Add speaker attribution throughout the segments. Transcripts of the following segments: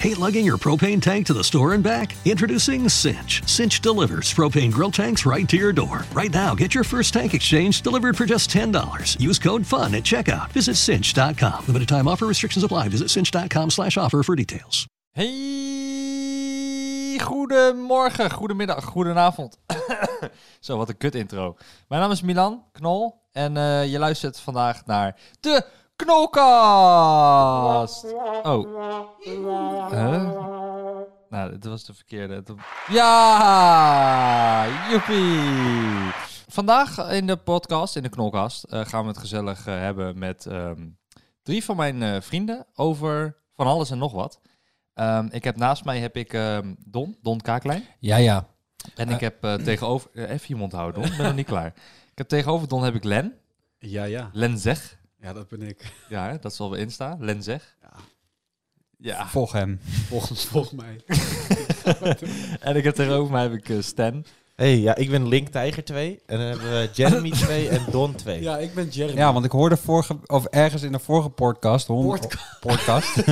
Speaker 1: Hate lugging your propane tank to the store and back? Introducing Cinch. Cinch delivers propane grill tanks right to your door. Right now, get your first tank exchange delivered for just $10. Use code FUN at checkout. Visit cinch.com. Limited time offer restrictions apply. Visit cinch.com slash offer for details.
Speaker 2: Hey, goedemorgen, goedemiddag, goedenavond. Zo, wat een kut intro. Mijn naam is Milan Knol en eh, je luistert vandaag naar de Knolkast. Oh. Huh? Nou, dit was de verkeerde. Het- Ja, joepie. Vandaag in de podcast, in de Knolkast, eh, gaan we het gezellig eh, hebben met ehm, drie van mijn eh, vrienden over van alles en nog wat. Ehm, ik heb naast mij heb ik ehm, Don, Don Kaaklijn.
Speaker 3: Ja, ja.
Speaker 2: En ik heb eh, tegenover... eh, even je mond houden, Don. Ik ben nog niet klaar. Ik heb tegenover Don heb ik Len.
Speaker 4: Ja, ja.
Speaker 2: Len Zeg.
Speaker 4: Ja, dat ben ik.
Speaker 2: Ja, hè, dat zal wel insta. Len Zeg. Ja. ja.
Speaker 3: Volg hem.
Speaker 4: Volgens volg mij.
Speaker 2: En ik heb tegenover mij heb ik eh, Stan.
Speaker 5: hey, ja, ik ben Link Tiger 2. En dan hebben we Jeremy 2 en Don 2.
Speaker 4: Ja, ik ben Jeremy.
Speaker 3: Ja, want ik hoorde vorige, of ergens in de vorige podcast, hon- podcast,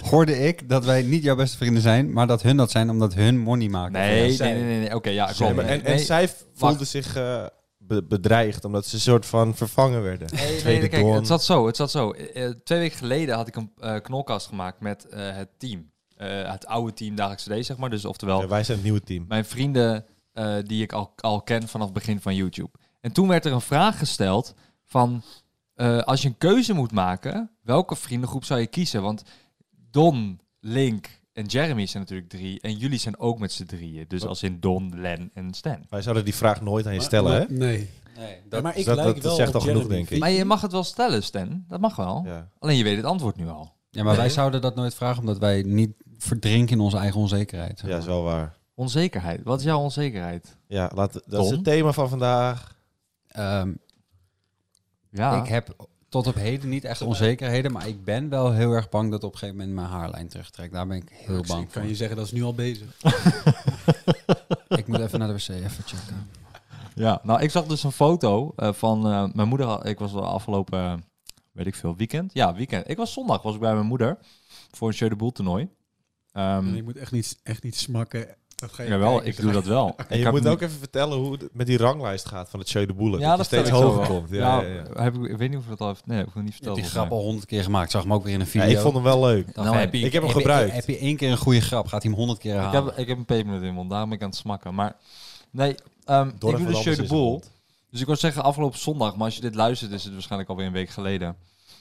Speaker 3: hoorde ik dat wij niet jouw beste vrienden zijn, maar dat hun dat zijn omdat hun money maken.
Speaker 2: Nee,
Speaker 5: zij.
Speaker 2: nee, nee, nee. nee. Oké, ja, klopt.
Speaker 5: en,
Speaker 2: Nee,
Speaker 5: en
Speaker 2: nee.
Speaker 5: zij voelde
Speaker 2: wacht.
Speaker 5: zich eh, be- bedreigd omdat ze een soort van vervangen werden.
Speaker 2: Nee, nee,
Speaker 5: Tweede
Speaker 2: nee, kijk,
Speaker 5: Don.
Speaker 2: het zat zo, het zat zo. Eh, eh, twee weken geleden had ik een eh, knolkast gemaakt met eh, het team. Eh, het oude team Dagelijkse D, zeg maar. Dus oftewel,
Speaker 5: Ja, wij zijn het nieuwe team.
Speaker 2: mijn vrienden eh, die ik al, al ken vanaf het begin van YouTube. En toen werd er een vraag gesteld van, eh, als je een keuze moet maken, welke vriendengroep zou je kiezen? Want Don, Link en Jeremy zijn natuurlijk drie. En jullie zijn ook met z'n drieën. Dus als in Don, Len en Stan.
Speaker 5: Wij zouden die vraag nooit aan je
Speaker 4: Maar-
Speaker 5: stellen, hè?
Speaker 4: maar- Nee.
Speaker 3: Nee,
Speaker 4: Ja, maar ik
Speaker 5: dus dat-
Speaker 4: lijk
Speaker 5: dat
Speaker 4: wel
Speaker 5: zegt
Speaker 4: op
Speaker 5: al genoeg,
Speaker 4: Jeremy.
Speaker 5: denk ik.
Speaker 2: Maar je mag het wel stellen, Stan. Dat mag wel.
Speaker 5: Ja.
Speaker 2: Alleen je weet het antwoord nu al.
Speaker 3: Ja, maar wij zouden dat nooit vragen omdat wij niet verdrinken in onze eigen onzekerheid.
Speaker 5: ja, is wel waar.
Speaker 2: Onzekerheid. Wat is jouw onzekerheid?
Speaker 5: Ja, laat, dat is
Speaker 2: Don?
Speaker 5: het thema van vandaag.
Speaker 3: Ehm,
Speaker 2: Ja.
Speaker 3: Ik heb Ah. tot op heden niet echt onzekerheden, maar ik ben wel heel erg bang dat op een gegeven moment mijn haarlijn terugtrekt. Daar ben Nou, ik heel
Speaker 4: Ik zie-
Speaker 3: bang
Speaker 4: kan
Speaker 3: voor.
Speaker 4: je zeggen, dat is nu al bezig.
Speaker 3: Ik moet even naar de wc even checken.
Speaker 2: ja. Nou, ik zag dus een foto eh, van eh, mijn moeder. had- Ik was de afgelopen, eh, weet ik veel, weekend. Ja, weekend. Ik was zondag was ik bij mijn moeder voor een Jeu de Boel toernooi. Ehm,
Speaker 4: En ik moet echt niet, echt niet smakken. Dat ga je
Speaker 2: jawel,
Speaker 4: kijken,
Speaker 2: ik
Speaker 4: zeg.
Speaker 2: doe dat wel.
Speaker 5: En
Speaker 2: ik
Speaker 5: je
Speaker 2: heb
Speaker 5: moet
Speaker 2: nu-
Speaker 5: ook even vertellen hoe het met die ranglijst gaat van het Show de Boel.
Speaker 2: Ja,
Speaker 5: je
Speaker 2: dat
Speaker 5: steeds
Speaker 2: vertel ik zo
Speaker 5: hoger
Speaker 2: wel.
Speaker 5: komt. Ja,
Speaker 2: Ja,
Speaker 5: ja, ja.
Speaker 2: Heb ik, ik weet niet of ik dat al heeft. Nee, heb ik nog niet
Speaker 3: Ik heb
Speaker 2: verteld.
Speaker 3: die grap
Speaker 2: volgens mij.
Speaker 3: al honderd keer gemaakt. Ik zag hem ook weer in een
Speaker 5: Ja,
Speaker 3: video.
Speaker 5: ik vond hem wel leuk.
Speaker 2: Dan
Speaker 3: Nou,
Speaker 2: heb
Speaker 3: je-
Speaker 2: ik,
Speaker 5: Ik heb hem
Speaker 3: heb je-
Speaker 5: gebruikt.
Speaker 3: Heb je één keer een goede grap, gaat hij hem honderd keer
Speaker 2: ik,
Speaker 3: halen.
Speaker 2: heb, ik heb een pepermunt in mijn mond. Daarom ben ik aan het smakken. Maar nee, ehm, ik
Speaker 5: Dorf
Speaker 2: doe
Speaker 5: van
Speaker 2: dus Jeu de
Speaker 5: Lammers is
Speaker 2: Boel.
Speaker 5: het mond.
Speaker 2: Dus ik wil zeggen afgelopen zondag, maar als je dit luistert is het waarschijnlijk alweer een week geleden.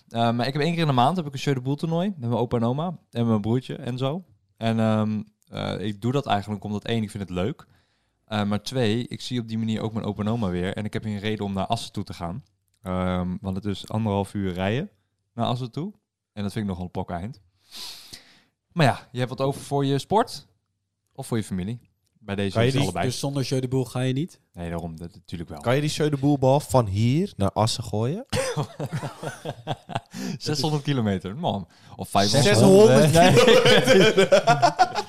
Speaker 2: Eh, maar ik heb één keer in de maand heb ik een Jeu de Boel toernooi met mijn opa en oma en mijn broertje en zo. En ehm, eh, ik doe dat eigenlijk omdat één, ik vind het leuk. Eh, maar twee, ik zie op die manier ook mijn opa en oma weer. En ik heb hier een reden om naar Assen toe te gaan. Ehm, want het is anderhalf uur rijden naar Assen toe. En dat vind ik nogal een pokken eind. Maar ja, je hebt wat over voor je sport of voor je familie. Bij deze
Speaker 5: Kan je
Speaker 2: is het
Speaker 5: die-
Speaker 2: allebei.
Speaker 4: Dus zonder Jeu de Boel ga je niet?
Speaker 2: Nee, daarom, dat natuurlijk wel.
Speaker 5: Kan je die Show de Boel bal van hier naar Assen gooien?
Speaker 2: 600 kilometer, man. Of 500.
Speaker 5: 600
Speaker 2: Nee,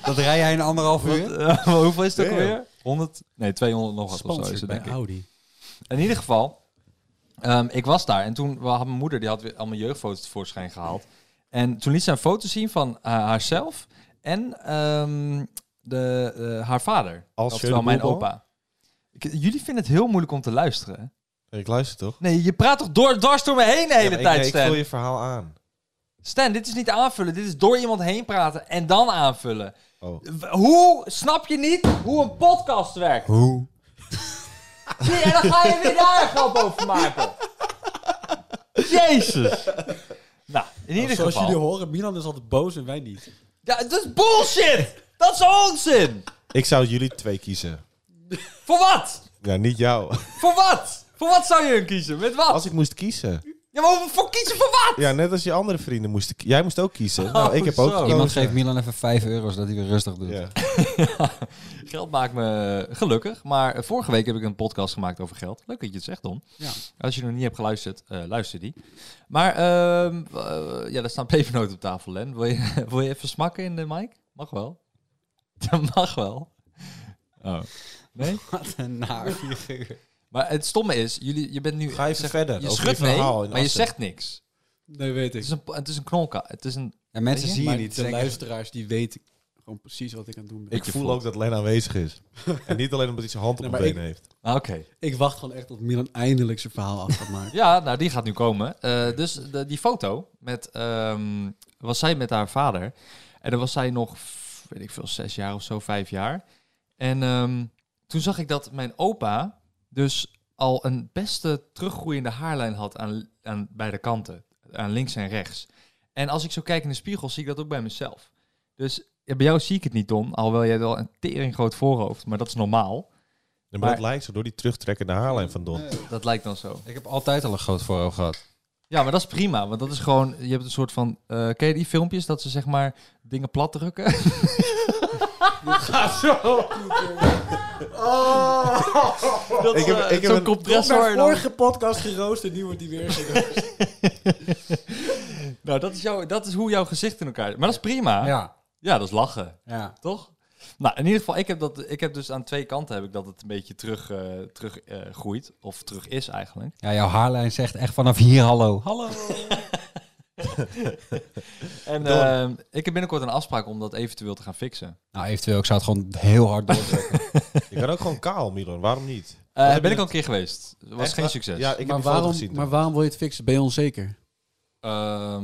Speaker 3: Dat rij jij in anderhalf uur?
Speaker 2: eh, maar hoeveel is het ook
Speaker 5: Damn.
Speaker 2: alweer? 100? Nee, 200 nog wat of zo
Speaker 4: Sponsored
Speaker 2: is het,
Speaker 4: bij
Speaker 2: denk ik.
Speaker 4: Audi.
Speaker 2: In ieder geval, ehm, ik was daar en toen had mijn moeder die had weer allemaal jeugdfoto's tevoorschijn gehaald. En toen liet ze een foto zien van eh, haarzelf en ehm, de, eh, haar vader.
Speaker 5: Als
Speaker 2: oftewel
Speaker 5: Jeu de
Speaker 2: mijn
Speaker 5: Boel bal?
Speaker 2: opa. Ik- jullie vinden het heel moeilijk om te luisteren. hè?
Speaker 5: Ik luister toch?
Speaker 2: Nee, je praat toch door, dwars door me heen de
Speaker 5: Ja,
Speaker 2: hele
Speaker 5: maar ik-
Speaker 2: tijd,
Speaker 5: nee, Ik
Speaker 2: Stan.
Speaker 5: vul je verhaal aan.
Speaker 2: Stan, dit is niet aanvullen. Dit is door iemand heen praten en dan aanvullen.
Speaker 5: Oh.
Speaker 2: W- Hoe snap je niet hoe een podcast werkt?
Speaker 3: Hoe?
Speaker 2: Zie, en dan ga je weer daar een grap over maken. Jezus. Nou, in ieder
Speaker 4: Zoals jullie
Speaker 2: geval.
Speaker 4: horen, Milan is altijd boos en wij niet.
Speaker 2: Ja, dat is bullshit. Dat is onzin.
Speaker 5: Ik zou jullie twee kiezen.
Speaker 2: Voor wat?
Speaker 5: Ja, niet jou.
Speaker 2: Voor wat? Voor wat zou je hem kiezen? Met wat?
Speaker 5: Als ik moest kiezen.
Speaker 2: Ja, maar voor kiezen voor wat?
Speaker 5: Ja, net als je andere vrienden moest ik- Jij moest ook kiezen. nou, ik
Speaker 2: Oh,
Speaker 5: heb
Speaker 2: zo.
Speaker 5: ook gekozen.
Speaker 3: Iemand geeft Milan even 5 euro zodat hij weer rustig doet.
Speaker 5: Ja.
Speaker 2: Geld maakt me gelukkig. Maar vorige week heb ik een podcast gemaakt over geld. Leuk dat je het zegt, Don.
Speaker 4: Ja.
Speaker 2: Als je nog niet hebt geluisterd, eh, luister die. Maar ehm, eh, ja, daar staan pepernoten op tafel, Len. Wil je, wil je even smakken in de mic? Mag wel. Dat mag wel. Oh. Nee?
Speaker 3: Wat een naar figuur.
Speaker 2: Maar het stomme is, jullie, je bent nu...
Speaker 5: Ga even
Speaker 2: zeg-
Speaker 5: verder
Speaker 2: Je
Speaker 5: over
Speaker 2: schudt
Speaker 5: je
Speaker 2: nee,
Speaker 5: verhaal in
Speaker 2: maar je
Speaker 5: Assen.
Speaker 2: zegt niks.
Speaker 4: Nee, weet
Speaker 2: Het
Speaker 4: ik.
Speaker 2: is een, het is een knolka. Het is een
Speaker 3: En mensen zien je
Speaker 4: Maar
Speaker 3: niet.
Speaker 4: De
Speaker 3: Zeker-
Speaker 4: luisteraars die weten gewoon precies wat ik aan het doen ben.
Speaker 5: Ik voel ook dat Len aanwezig is. en niet alleen omdat hij zijn hand op
Speaker 4: Nee,
Speaker 5: de
Speaker 4: maar
Speaker 5: benen heeft.
Speaker 2: Ah, Oké.
Speaker 4: Ik wacht gewoon echt tot Milan eindelijk zijn verhaal af gaat maken.
Speaker 2: Ja, nou die gaat nu komen. Eh, dus de- die foto met, ehm, was zij met haar vader. En dan was zij nog, f- weet ik veel, zes jaar of zo, vijf jaar. En ehm, toen zag ik dat mijn opa dus al een beste teruggroeiende haarlijn had aan, aan beide kanten. Aan links en rechts. En als ik zo kijk in de spiegel, zie ik dat ook bij mezelf. Dus ja, bij jou zie ik het niet, Don. Alhoewel jij wel een tering groot voorhoofd, maar dat is normaal.
Speaker 5: Maar,
Speaker 2: Maar-
Speaker 5: dat lijkt zo door die terugtrekkende haarlijn van Don.
Speaker 2: Dat lijkt dan zo.
Speaker 3: Ik heb altijd al een groot voorhoofd gehad.
Speaker 2: Ja, maar dat is prima, want dat is gewoon... Je hebt een soort van... eh, ken je die filmpjes dat ze zeg maar dingen plat drukken? Oh. Dat
Speaker 5: Ik heb-
Speaker 2: eh,
Speaker 5: ik heb
Speaker 2: zo'n
Speaker 5: een-
Speaker 2: compressor. en dan-
Speaker 4: podcast geroost en nu wordt die weer
Speaker 2: Nou, dat is, jouw, dat is hoe jouw gezicht in elkaar... Maar dat is prima. Ja,
Speaker 3: Ja.
Speaker 2: dat is lachen,
Speaker 3: ja.
Speaker 2: toch? Nou, in ieder geval, ik heb, dat, ik heb dus aan twee kanten heb ik dat het een beetje terug, eh, terug eh, groeit. Of terug is eigenlijk.
Speaker 3: Ja, jouw haarlijn zegt echt vanaf hier hallo. Hallo.
Speaker 2: En
Speaker 5: Door.
Speaker 2: eh, ik heb binnenkort een afspraak om dat eventueel te gaan fixen.
Speaker 3: Nou, eventueel, ik zou het gewoon heel hard doen.
Speaker 5: Je kan ook gewoon kaal, Milan. Waarom niet?
Speaker 2: Eh,
Speaker 5: heb je
Speaker 2: ben ik
Speaker 5: het-
Speaker 2: al een keer geweest. Het was
Speaker 5: Echt
Speaker 2: geen
Speaker 5: waar?
Speaker 2: succes.
Speaker 5: Ja, ik heb
Speaker 4: maar,
Speaker 5: die foto
Speaker 4: waarom,
Speaker 5: gezien.
Speaker 4: maar waarom wil je het fixen? Ben je onzeker?
Speaker 2: Ehm,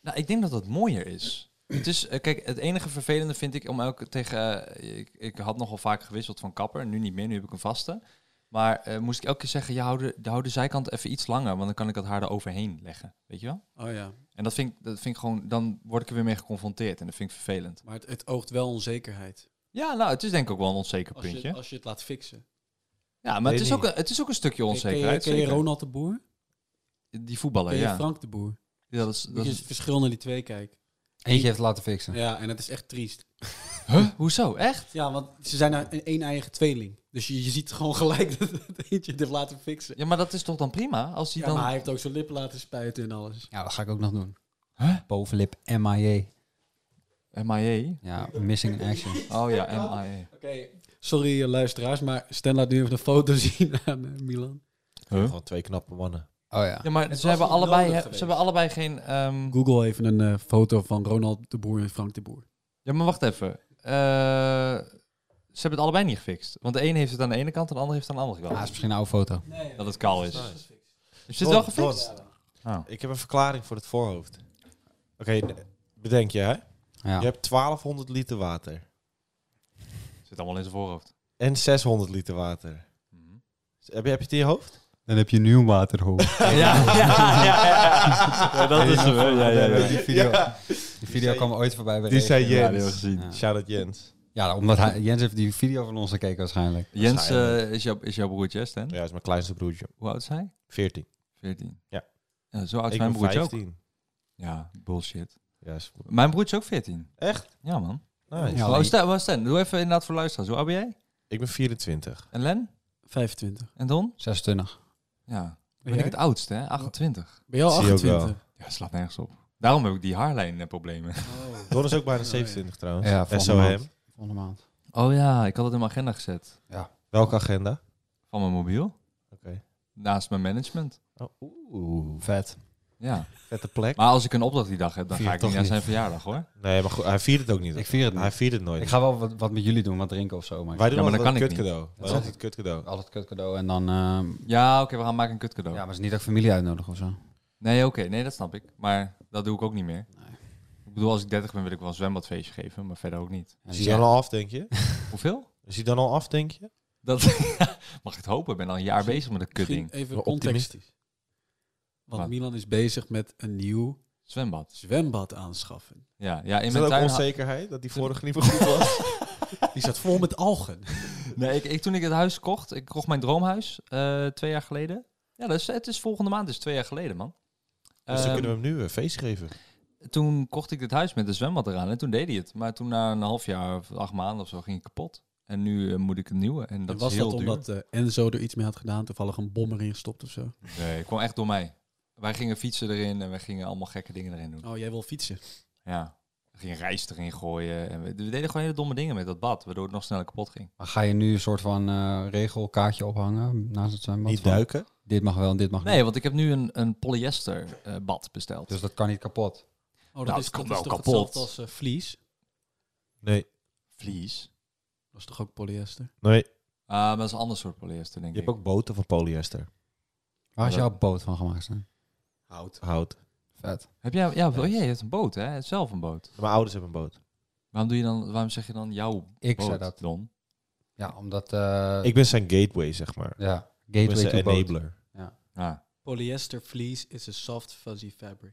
Speaker 2: nou, ik denk dat dat mooier is. Het is, eh, kijk, het enige vervelende vind ik om elke tegen. eh, ik, ik had nogal vaak gewisseld van kapper, nu niet meer, nu heb ik een vaste. Maar eh, moest ik elke keer zeggen, ja, hou de, hou de zijkant even iets langer, want dan kan ik dat haar eroverheen leggen. Weet je wel?
Speaker 4: Oh ja,
Speaker 2: En dat vind, ik, dat vind ik gewoon, dan word ik er weer mee geconfronteerd en dat vind ik vervelend.
Speaker 4: maar het, het oogt wel onzekerheid.
Speaker 2: Ja, nou, het is denk ik ook wel een onzeker
Speaker 4: Als
Speaker 2: puntje.
Speaker 4: je, als je het laat fixen.
Speaker 2: ja, maar het
Speaker 5: Weet
Speaker 2: is, ook
Speaker 5: niet.
Speaker 2: een, het is ook een stukje
Speaker 4: Ken je,
Speaker 2: onzekerheid.
Speaker 4: ken je
Speaker 2: zeker.
Speaker 4: Ronald de Boer?
Speaker 2: Die voetballer,
Speaker 4: Ken je
Speaker 2: ja.
Speaker 4: Frank de Boer?
Speaker 2: ja. Dat is, dat
Speaker 4: Dat is
Speaker 2: is,
Speaker 4: het verschil naar die twee kijk.
Speaker 3: Eentje heeft laten fixen.
Speaker 4: Ja, en dat is echt triest.
Speaker 2: Huh? Hoezo? Echt?
Speaker 4: Ja, want ze zijn nou een één eigen tweeling. Dus je, je ziet gewoon gelijk dat het eentje het heeft laten fixen.
Speaker 2: Ja, maar dat is toch dan prima? Als die
Speaker 4: Ja,
Speaker 2: dan...
Speaker 4: maar hij heeft ook zijn lippen laten spuiten en alles.
Speaker 3: Ja, dat ga ik ook nog doen.
Speaker 2: Huh?
Speaker 3: Bovenlip MIA.
Speaker 2: MIA?
Speaker 3: Ja, missing in action.
Speaker 2: Oh ja, MIA.
Speaker 4: Oké, sorry eh, luisteraars, maar Stan laat nu even de foto zien aan eh, Milan.
Speaker 5: Gewoon twee knappe mannen.
Speaker 3: Oh ja.
Speaker 2: Ja, maar
Speaker 4: Het
Speaker 2: ze
Speaker 4: was
Speaker 2: hebben,
Speaker 4: niet
Speaker 2: allebei,
Speaker 4: nodig
Speaker 2: he- ze
Speaker 4: geweest.
Speaker 2: hebben allebei geen... ehm,
Speaker 4: Google even een eh, foto van Ronald de Boer en Frank de Boer.
Speaker 2: Ja, maar wacht even. Eh, ze hebben het allebei niet gefixt. Want de een heeft het aan de ene kant en de ander heeft het aan de andere
Speaker 3: Ah, dat is
Speaker 2: kant.
Speaker 3: misschien een oude foto.
Speaker 2: dat het kaal is.
Speaker 5: Ah. Nice.
Speaker 2: Is dit wel
Speaker 5: Don,
Speaker 2: gefixt? Oh.
Speaker 5: Ik heb een verklaring voor het voorhoofd. Oké, n- bedenk je hè?
Speaker 3: Ja.
Speaker 5: Je hebt 1200 liter water.
Speaker 2: Zit allemaal in zijn voorhoofd.
Speaker 5: En 600 liter water. Heb je, heb je het in je hoofd?
Speaker 3: Dan heb je nieuw waterhoofd.
Speaker 2: Ja, ja, ja, dat is hem. Ja, ja,
Speaker 3: Die video, die video kwam ooit voorbij. bij
Speaker 5: Die zei
Speaker 3: Regen.
Speaker 5: Jens.
Speaker 2: gezien.
Speaker 3: Ja.
Speaker 5: Shout out Jens.
Speaker 3: Ja, omdat hij, Jens heeft die video van ons gekeken waarschijnlijk.
Speaker 2: Jens eh, is, jouw, is jouw broertje, hè, Stan?
Speaker 5: Ja, dat is mijn kleinste broertje.
Speaker 2: Hoe oud is hij?
Speaker 5: 14.
Speaker 2: 14.
Speaker 5: Ja.
Speaker 2: zo oud Oh, is mijn
Speaker 5: ik ben
Speaker 2: broertje
Speaker 5: 15.
Speaker 2: ook. Ja, bullshit.
Speaker 5: Ja, is goed.
Speaker 2: Mijn broertje is ook 14.
Speaker 5: Echt?
Speaker 2: Oh, Ja, man.
Speaker 5: Nice.
Speaker 3: Ja.
Speaker 2: Hoe oud is Stan, hoe oud is Stan? doe even inderdaad voor luisteraars. Hoe oud ben jij?
Speaker 5: Ik ben 24.
Speaker 2: En Len?
Speaker 4: 25.
Speaker 2: En Don?
Speaker 3: 26.
Speaker 2: Ja.
Speaker 4: Ben
Speaker 2: Ben ik
Speaker 4: jij?
Speaker 2: het oudste, hè? 28.
Speaker 4: Ben je al
Speaker 5: Zie je ook
Speaker 4: 28?
Speaker 2: Ja, slaat nergens op. Daarom heb ik die eh, haarlijnproblemen.
Speaker 4: Oh.
Speaker 5: Don is ook bijna 27 trouwens.
Speaker 3: Ja, volgende
Speaker 5: SOM.
Speaker 3: maand.
Speaker 4: Volgende maand.
Speaker 2: Oh ja, ik had het in mijn agenda gezet.
Speaker 5: Welke agenda?
Speaker 2: Van mijn mobiel.
Speaker 5: Oké.
Speaker 2: Naast mijn management.
Speaker 5: Oeh,
Speaker 3: Vet.
Speaker 2: Ja.
Speaker 5: vette plek.
Speaker 2: Maar als ik een opdracht die dag heb, dan
Speaker 3: Vier
Speaker 2: ga ik
Speaker 3: toch
Speaker 2: niet naar
Speaker 3: niet.
Speaker 2: zijn verjaardag hoor.
Speaker 5: Nee, maar goed, hij viert het ook niet.
Speaker 3: Ik vier het
Speaker 5: Hij
Speaker 3: niet.
Speaker 5: viert het nooit.
Speaker 3: Ik ga wel wat, wat met jullie doen, wat drinken of zo. Maar
Speaker 5: Wij doen
Speaker 2: Ja, maar
Speaker 5: altijd
Speaker 2: dat kan
Speaker 5: een
Speaker 2: ik
Speaker 5: kut cadeau. Wij
Speaker 3: zeg
Speaker 5: doen altijd kut cadeau.
Speaker 3: altijd kut cadeau en dan... ehm,
Speaker 2: Ja, oké, we gaan maken een kutcadeau.
Speaker 3: ja, maar het is niet dat ik familie uitnodig of zo.
Speaker 2: Nee, oké, nee, dat snap ik. Maar dat doe ik ook niet meer. Ik bedoel, als ik 30 ben, wil ik wel een zwembadfeestje geven, maar verder ook niet.
Speaker 3: En
Speaker 5: Is
Speaker 3: die
Speaker 5: hij dan
Speaker 3: zeggen-
Speaker 5: al af, denk je?
Speaker 2: Hoeveel?
Speaker 5: Is hij dan al af, denk je?
Speaker 2: Dat, mag ik het hopen? Ik ben al een jaar bezig met een kutding.
Speaker 4: Even
Speaker 5: Wel
Speaker 4: context.
Speaker 5: optimistisch.
Speaker 4: Want
Speaker 2: Wat?
Speaker 4: Milan is bezig met een nieuw
Speaker 2: Zwembad.
Speaker 4: zwembad aanschaffen.
Speaker 2: Ja, ja in mijn
Speaker 5: Is dat ook
Speaker 2: tuin. ha-
Speaker 5: onzekerheid? Dat die vorige niet meer goed was?
Speaker 4: Die staat vol met algen.
Speaker 2: Nee, ik, ik, toen ik het huis kocht, ik kocht mijn droomhuis eh, twee jaar geleden. Ja, dat is, het is volgende maand, dus twee jaar geleden, man.
Speaker 5: dus dan
Speaker 2: Ehm,
Speaker 5: kunnen we hem nu een feest geven.
Speaker 2: Toen kocht ik dit huis met een zwembad eraan en toen deed hij het. Maar toen na een half jaar of acht maanden of zo ging ik kapot. En nu eh, moet ik een nieuwe en dat
Speaker 4: en was
Speaker 2: is heel
Speaker 4: dat
Speaker 2: duur.
Speaker 4: omdat eh, Enzo er iets mee had gedaan? Toevallig een bom erin gestopt of zo?
Speaker 2: Nee, het kwam echt door mij. Wij gingen fietsen erin en wij gingen allemaal gekke dingen erin doen.
Speaker 4: Oh, jij wil fietsen?
Speaker 2: Ja, we gingen rijst erin gooien. En we, we deden gewoon hele domme dingen met dat bad, waardoor het nog sneller kapot ging.
Speaker 3: Maar ga je nu een soort van eh, regelkaartje ophangen naast het zwembad?
Speaker 5: Niet
Speaker 3: Van,
Speaker 5: duiken.
Speaker 3: Dit mag wel en dit mag niet.
Speaker 5: Dus-
Speaker 2: Nee, want ik heb nu een, een polyester eh, bad besteld.
Speaker 3: Dus dat kan niet kapot.
Speaker 4: Oh, dat
Speaker 2: Nou,
Speaker 4: is,
Speaker 2: het komt
Speaker 4: dat is
Speaker 2: wel
Speaker 4: toch
Speaker 2: kapot.
Speaker 4: hetzelfde als eh, vlies?
Speaker 5: Nee.
Speaker 2: Vlies.
Speaker 4: Dat is toch ook polyester?
Speaker 5: Nee.
Speaker 2: Ah, maar dat is een ander soort polyester, denk
Speaker 5: Je hebt
Speaker 2: ik.
Speaker 5: ook boten van polyester.
Speaker 3: Waar is
Speaker 2: Ja.
Speaker 3: jouw boot van gemaakt? Stan?
Speaker 5: Hout. Hout.
Speaker 3: Vet.
Speaker 2: Heb jij, ja, oh, jee, je hebt een boot, hè? Je hebt zelf een boot.
Speaker 5: Mijn ouders hebben een boot.
Speaker 2: Waarom, doe je dan, waarom zeg je dan jouw
Speaker 3: Ik
Speaker 2: boot,
Speaker 3: zei dat.
Speaker 2: Don?
Speaker 3: Ja, omdat... eh,
Speaker 5: Ik ben zijn gateway, zeg maar.
Speaker 3: ja,
Speaker 5: Ik
Speaker 3: gateway
Speaker 5: ben
Speaker 3: to
Speaker 5: zijn
Speaker 3: boot.
Speaker 5: enabler.
Speaker 2: Ja.
Speaker 4: Polyester fleece is a soft fuzzy fabric.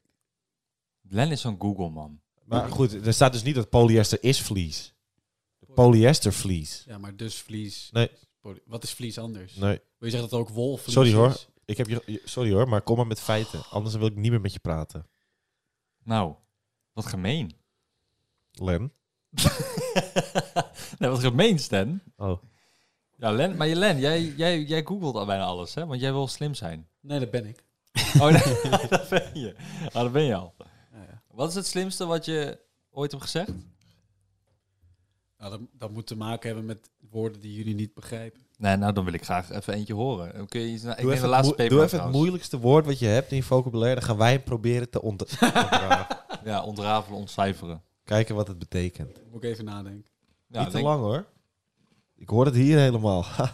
Speaker 2: Len is zo'n Google-man.
Speaker 5: Maar goed, er staat dus niet dat polyester is vlies. Polyester vlies.
Speaker 4: Ja, maar dus vlies.
Speaker 5: Nee.
Speaker 4: Poly- Wat is vlies anders?
Speaker 5: Nee,
Speaker 4: Wil je zeggen dat ook wol vlies
Speaker 5: Sorry,
Speaker 4: is?
Speaker 5: hoor. ik heb je, je- sorry hoor, maar kom maar met feiten. Anders wil ik niet meer met je praten.
Speaker 2: Nou, wat gemeen.
Speaker 5: Len.
Speaker 2: nee, wat gemeen, Stan.
Speaker 5: Oh.
Speaker 2: Ja, Len, maar Len, jij, jij, jij googelt al bijna alles, hè? Want jij wil slim zijn.
Speaker 4: Nee, dat ben ik.
Speaker 2: Oh, nee, dat ben je. Ah, dat ben je al.
Speaker 4: Ja, ja.
Speaker 2: Wat is het slimste wat je ooit hebt gezegd?
Speaker 4: Nou, dat, dat moet te maken hebben met woorden die jullie niet begrijpen.
Speaker 2: Nee, nou, dan wil ik graag even eentje horen. Dan Kun je iets, nou, ik
Speaker 5: Doe
Speaker 2: neem
Speaker 5: even,
Speaker 2: de
Speaker 5: het,
Speaker 2: laatste paper
Speaker 5: moe- doe
Speaker 2: af
Speaker 5: even het
Speaker 2: trouwens.
Speaker 5: moeilijkste woord wat je hebt in je vocabulaire. Dan gaan wij hem proberen te ont ontrafelen.
Speaker 2: Ja, ontrafelen, ontcijferen.
Speaker 5: Kijken wat het betekent.
Speaker 4: Moet ik even nadenken.
Speaker 2: Ja,
Speaker 5: niet te
Speaker 2: denk-
Speaker 5: lang hoor. Ik hoor het hier helemaal.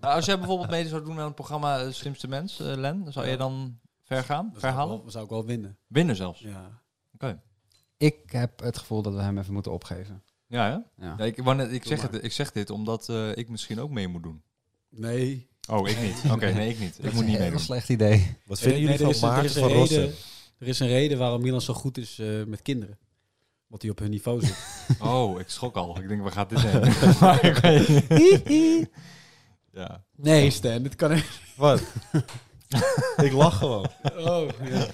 Speaker 2: Nou, als jij bijvoorbeeld mede zou doen aan het programma eh, Slimste Mens, eh, Len, zou je dan ver gaan?
Speaker 4: Dat zou ik
Speaker 2: Verhalen?
Speaker 4: wel- zou ik wel winnen.
Speaker 2: Winnen zelfs.
Speaker 4: Ja.
Speaker 3: Ik heb het gevoel dat we hem even moeten opgeven.
Speaker 2: Ja, hè?
Speaker 3: Ja.
Speaker 2: Ja, ik, wou net- ik,
Speaker 4: Doe
Speaker 2: zeg
Speaker 4: maar.
Speaker 2: het, ik zeg dit omdat eh, ik misschien ook mee moet doen.
Speaker 4: Nee.
Speaker 2: Oh, ik niet. Oké, nee, ik niet. Ik moet niet
Speaker 3: een
Speaker 2: meedoen.
Speaker 3: heel slecht idee.
Speaker 5: Wat vinden
Speaker 4: Nee, nee,
Speaker 5: jullie
Speaker 4: er
Speaker 5: van
Speaker 4: is een- er
Speaker 5: Maarten
Speaker 4: is een
Speaker 5: van
Speaker 4: reden-
Speaker 5: Rossum?
Speaker 4: Er is een reden waarom Milan zo goed is eh, met kinderen. Wat hij op hun niveau zit.
Speaker 2: Oh, ik schrok al. Ik denk, waar gaat dit heen? Maar ik weet- ja.
Speaker 4: Nee, Stan, dit kan echt.
Speaker 5: Wat? ik lach gewoon.
Speaker 4: Oh, ja.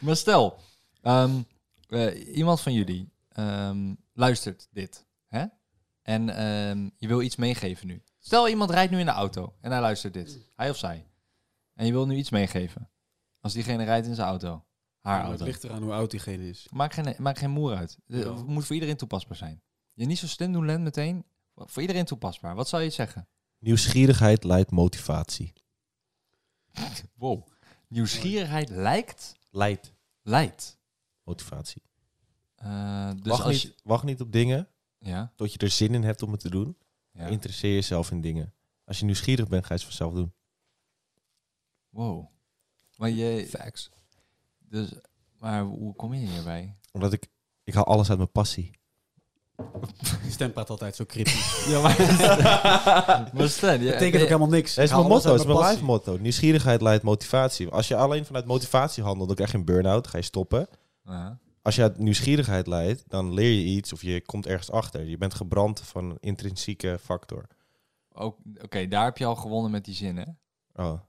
Speaker 2: Maar stel, ehm, eh, iemand van jullie ehm, luistert dit. Hè? En ehm, je wil iets meegeven nu. Stel, iemand rijdt nu in de auto en hij luistert dit. Hij of zij. En je wil nu iets meegeven. Als diegene rijdt in zijn auto. Haar
Speaker 4: het
Speaker 2: auto.
Speaker 4: ligt eraan hoe oud diegene is.
Speaker 2: Maakt geen, maakt geen moer uit. De-
Speaker 4: Ja.
Speaker 2: Het moet voor iedereen toepasbaar zijn. Je niet zo slim doen, Len, meteen. Voor iedereen toepasbaar. Wat zou je zeggen?
Speaker 5: Nieuwsgierigheid leidt motivatie.
Speaker 2: Wow. Nieuwsgierigheid lijkt...
Speaker 5: Leidt
Speaker 2: Leidt.
Speaker 5: motivatie.
Speaker 2: Eh, dus
Speaker 5: wacht,
Speaker 2: als
Speaker 5: niet,
Speaker 2: je...
Speaker 5: wacht niet op dingen
Speaker 2: Ja,
Speaker 5: tot je er zin in hebt om het te doen.
Speaker 2: ja.
Speaker 5: Interesseer jezelf in dingen. Als je nieuwsgierig bent, ga je het vanzelf doen.
Speaker 2: Wow. Maar je... Facts. Dus, maar hoe kom je hierbij?
Speaker 5: Omdat ik, ik haal alles uit mijn passie.
Speaker 4: Stan praat altijd zo kritisch.
Speaker 2: Ja, maar... maar Stan, je,
Speaker 4: Dat betekent ook helemaal niks.
Speaker 5: Dat is
Speaker 4: Ik haal
Speaker 5: mijn motto, dat
Speaker 4: alles uit
Speaker 5: is mijn
Speaker 4: passie.
Speaker 5: life motto. Nieuwsgierigheid leidt motivatie. Als je alleen vanuit motivatie handelt, dan krijg je een burn-out, ga je stoppen.
Speaker 2: Ja.
Speaker 5: Als je uit nieuwsgierigheid leidt, dan leer je iets of je komt ergens achter. Je bent gebrand van een intrinsieke factor.
Speaker 2: Ook- Oké, daar heb je al gewonnen met die zin, hè?
Speaker 5: Oh.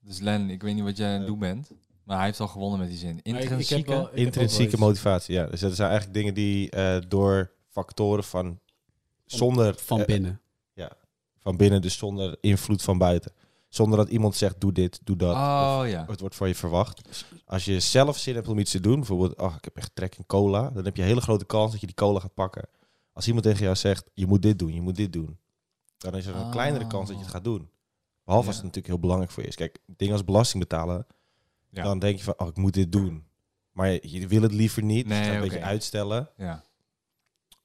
Speaker 2: Dus Len, ik weet niet wat jij aan het doen bent. Maar hij heeft al gewonnen met die zin.
Speaker 4: Maar ik- ik heb
Speaker 2: Intrinsieke...
Speaker 4: wel- ik heb ook wel
Speaker 5: Intrinsieke
Speaker 4: iets.
Speaker 5: motivatie, ja. Dus dat zijn eigenlijk dingen die eh, door factoren van zonder
Speaker 4: Van
Speaker 5: eh,
Speaker 4: binnen.
Speaker 5: van binnen, dus zonder invloed van buiten. Zonder dat iemand zegt, doe dit, doe dat.
Speaker 4: Ah,
Speaker 2: Oh, ja.
Speaker 5: Of het wordt van je verwacht. Als je zelf zin hebt om iets te doen, bijvoorbeeld, ach, ik heb echt trek in cola. Dan heb je een hele grote kans dat je die cola gaat pakken. Als iemand tegen jou zegt, je moet dit doen, je moet dit doen. Dan is er een
Speaker 2: Ah.
Speaker 5: kleinere kans dat je het gaat doen. Behalve als
Speaker 2: Ja.
Speaker 5: het natuurlijk heel belangrijk voor je is. Kijk, dingen als belasting betalen,
Speaker 2: Ja.
Speaker 5: dan denk je van, oh, ik moet dit doen. Maar je, je wil het liever niet, dus je
Speaker 2: Nee,
Speaker 5: gaat een
Speaker 2: oké.
Speaker 5: beetje uitstellen.
Speaker 2: Ja.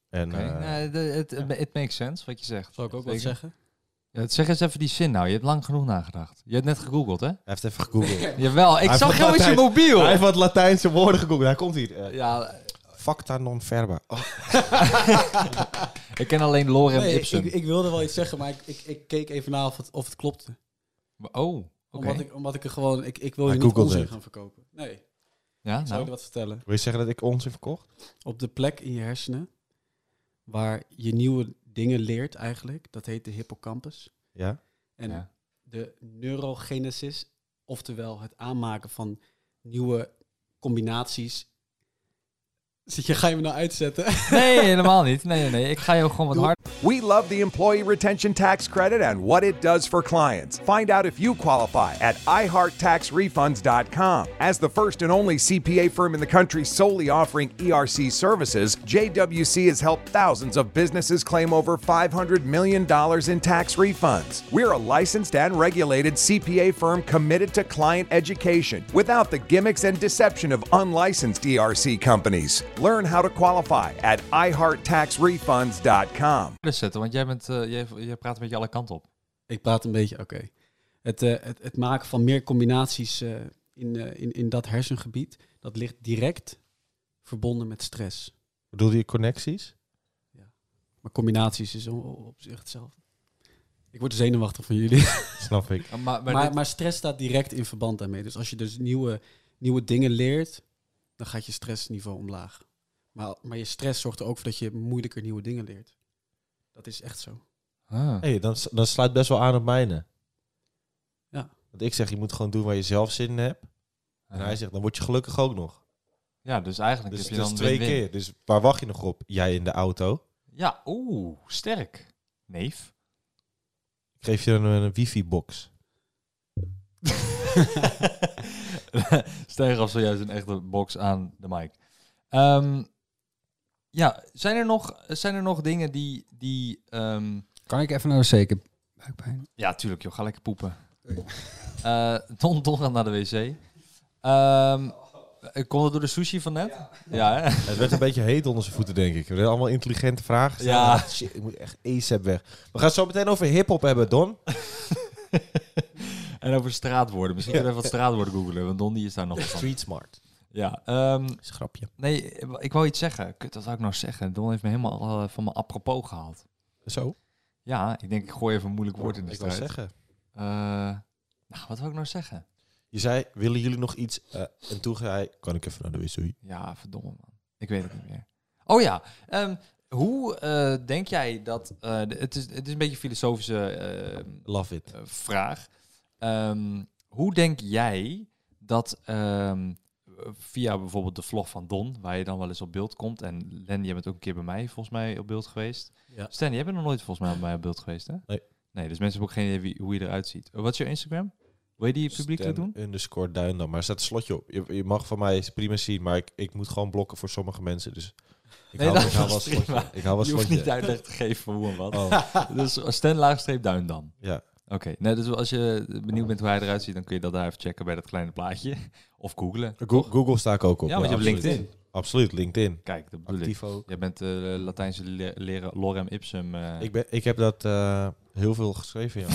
Speaker 5: En,
Speaker 2: Oké,
Speaker 5: eh,
Speaker 2: nee, de- het het it makes sense wat je zegt.
Speaker 4: Zal ik ook
Speaker 2: Zeker.
Speaker 4: wat zeggen?
Speaker 2: Ja, het- zeg eens even die zin nou. Je hebt lang genoeg nagedacht. Je hebt net gegoogeld, hè?
Speaker 5: Hij heeft even gegoogeld.
Speaker 2: Jawel, ik
Speaker 5: Hij
Speaker 2: zag
Speaker 5: heeft
Speaker 2: jou met je
Speaker 5: altijd-
Speaker 2: mobiel.
Speaker 5: Hij heeft wat Latijnse woorden gegoogeld. Hij komt hier. Eh,
Speaker 2: Ja,
Speaker 5: Facta non verba. Oh,
Speaker 2: ik ken alleen Lorem
Speaker 4: Nee, ik,
Speaker 2: Ipsum.
Speaker 4: ik, ik wilde wel iets zeggen, maar ik, ik, ik keek even na of het, of het klopte.
Speaker 2: oh, oké.
Speaker 4: Omdat, ik, omdat ik er gewoon... Ik, ik wil
Speaker 5: Hij
Speaker 4: je niet
Speaker 5: googelt
Speaker 4: onzin
Speaker 5: het. Nou.
Speaker 4: gaan verkopen. Nee,
Speaker 2: Ja,
Speaker 4: zou
Speaker 2: nou.
Speaker 4: je wat vertellen?
Speaker 5: wil je zeggen dat ik onzin verkocht?
Speaker 4: Op de plek in je hersenen waar je nieuwe dingen leert eigenlijk. Dat heet de hippocampus.
Speaker 5: Ja.
Speaker 4: En
Speaker 2: Ja.
Speaker 4: de neurogenesis, oftewel het aanmaken van nieuwe combinaties. Zit je, ga je me nou uitzetten?
Speaker 2: Nee, helemaal niet. Nee, nee, nee. Ik ga jou gewoon wat
Speaker 4: Doe-
Speaker 2: hard...
Speaker 6: We love the employee retention tax credit and what it does for clients. Find out if you qualify at iHeartTaxRefunds.com. As the first and only CPA firm in the country solely offering ERC services, JWC has helped thousands of businesses claim over $500 million in tax refunds. We're a licensed and regulated CPA firm committed to client education without the gimmicks and deception of unlicensed ERC companies. Learn how to qualify at iHeartTaxRefunds.com.
Speaker 2: Dus zetten, want jij, bent, eh, jij, jij praat een beetje alle kanten op.
Speaker 4: Ik praat een beetje, oké. Het, eh, het, het maken van meer combinaties eh, in, eh, in, in dat hersengebied, dat ligt direct verbonden met stress.
Speaker 5: Bedoel je connecties?
Speaker 4: Maar combinaties is o- o- op zich hetzelfde. Ik word zenuwachtig van jullie.
Speaker 5: Snap ik.
Speaker 2: Maar, maar,
Speaker 4: Maar,
Speaker 2: dit-
Speaker 4: maar, stress staat direct in verband daarmee. Dus als je dus nieuwe, nieuwe dingen leert, dan gaat je stressniveau omlaag. Maar, maar je stress zorgt er ook voor dat je moeilijker nieuwe dingen leert. Dat is echt zo.
Speaker 2: Ah.
Speaker 5: hey, dan, dan sluit best wel aan op mijne.
Speaker 4: Ja.
Speaker 5: Want ik zeg, je moet gewoon doen waar je zelf zin in hebt. En hij zegt, dan word je gelukkig ook nog.
Speaker 2: Ja, dus eigenlijk
Speaker 5: Dus
Speaker 2: heb je
Speaker 5: dat
Speaker 2: dan
Speaker 5: is twee
Speaker 2: win-win.
Speaker 5: keer. Dus waar wacht je nog op? Jij in de auto.
Speaker 2: Ja, oeh, sterk. Neef.
Speaker 5: Ik geef je dan een, een wifi-box.
Speaker 2: Sterk gaf zojuist een echte box aan de mic. Ehm, ja, zijn er nog, zijn er nog dingen die... die ehm,
Speaker 3: Kan ik even naar de zeker? Buikpijn.
Speaker 2: ja, tuurlijk joh, ga lekker poepen. Eh, Don, Don gaat naar de wc. Ehm komt dat door de sushi van net? Ja, hè?
Speaker 5: Het werd een beetje heet onder zijn voeten, denk ik. We hebben allemaal intelligente vragen gesteld.
Speaker 2: Ja.
Speaker 5: Ah, shit, ik moet echt ASAP weg. We gaan het zo meteen over hip-hop hebben, Don.
Speaker 2: en over straatwoorden. Misschien kunnen we even wat straatwoorden googlen, want Don die is daar nog van.
Speaker 5: Street smart.
Speaker 2: Ja, ehm,
Speaker 5: Is een grapje.
Speaker 2: nee, ik wou iets zeggen. Kut, dat zou ik nog zeggen. Don heeft me helemaal eh, van mijn apropos gehaald.
Speaker 5: Zo.
Speaker 2: Ja, ik denk ik gooi even een moeilijk woord in de
Speaker 5: Ik wil
Speaker 2: strijd.
Speaker 5: zeggen.
Speaker 2: Eh, nou, wat wil ik nou zeggen?
Speaker 5: Je zei, willen jullie nog iets? Eh, en toen zei hij, kan ik even naar de wc?
Speaker 2: Ja, verdomme man. Ik weet het niet meer. Oh ja, ehm, hoe eh, denk jij dat... eh, de- het, is, het is een beetje een filosofische eh,
Speaker 5: Love it.
Speaker 2: eh, vraag. Ehm, hoe denk jij dat ehm, via bijvoorbeeld de vlog van Don, waar je dan wel eens op beeld komt... en Len, jij bent ook een keer bij mij volgens mij op beeld geweest.
Speaker 4: Ja.
Speaker 2: Stan, jij bent nog nooit volgens mij bij mij op beeld geweest, hè?
Speaker 5: Nee.
Speaker 2: Nee, dus mensen hebben ook geen idee wie- hoe je eruit ziet. Eh, Wat is je Instagram? Wil je die publiekelijk
Speaker 5: Stan
Speaker 2: doen?
Speaker 5: underscore duin dan. Maar er staat een slotje op. Je, je mag van mij prima zien, maar ik, ik moet gewoon blokken voor sommige mensen. Dus ik
Speaker 2: Nee,
Speaker 5: hou,
Speaker 2: dat
Speaker 5: ik hou
Speaker 2: is
Speaker 5: wel een slotje.
Speaker 2: prima.
Speaker 5: Ik hou wel een
Speaker 2: Je hoeft niet
Speaker 5: slotje.
Speaker 2: uitleg te geven voor hoe en wat.
Speaker 5: Oh.
Speaker 2: Dus Stan laagstreep duim dan.
Speaker 5: Ja.
Speaker 2: Oké, nee, dus als je benieuwd bent hoe hij eruit ziet, dan kun je dat daar even checken bij dat kleine plaatje. Of googlen.
Speaker 5: Go- Google sta ik ook op.
Speaker 2: Ja, want je hebt
Speaker 5: absoluut.
Speaker 2: LinkedIn.
Speaker 5: Absoluut, LinkedIn.
Speaker 2: Kijk, dat bedoel
Speaker 5: Actief
Speaker 2: ik.
Speaker 5: ook.
Speaker 2: Jij bent eh Latijnse le- leren lorem ipsum. eh.
Speaker 5: Ik, ben, ik heb dat eh, heel veel geschreven,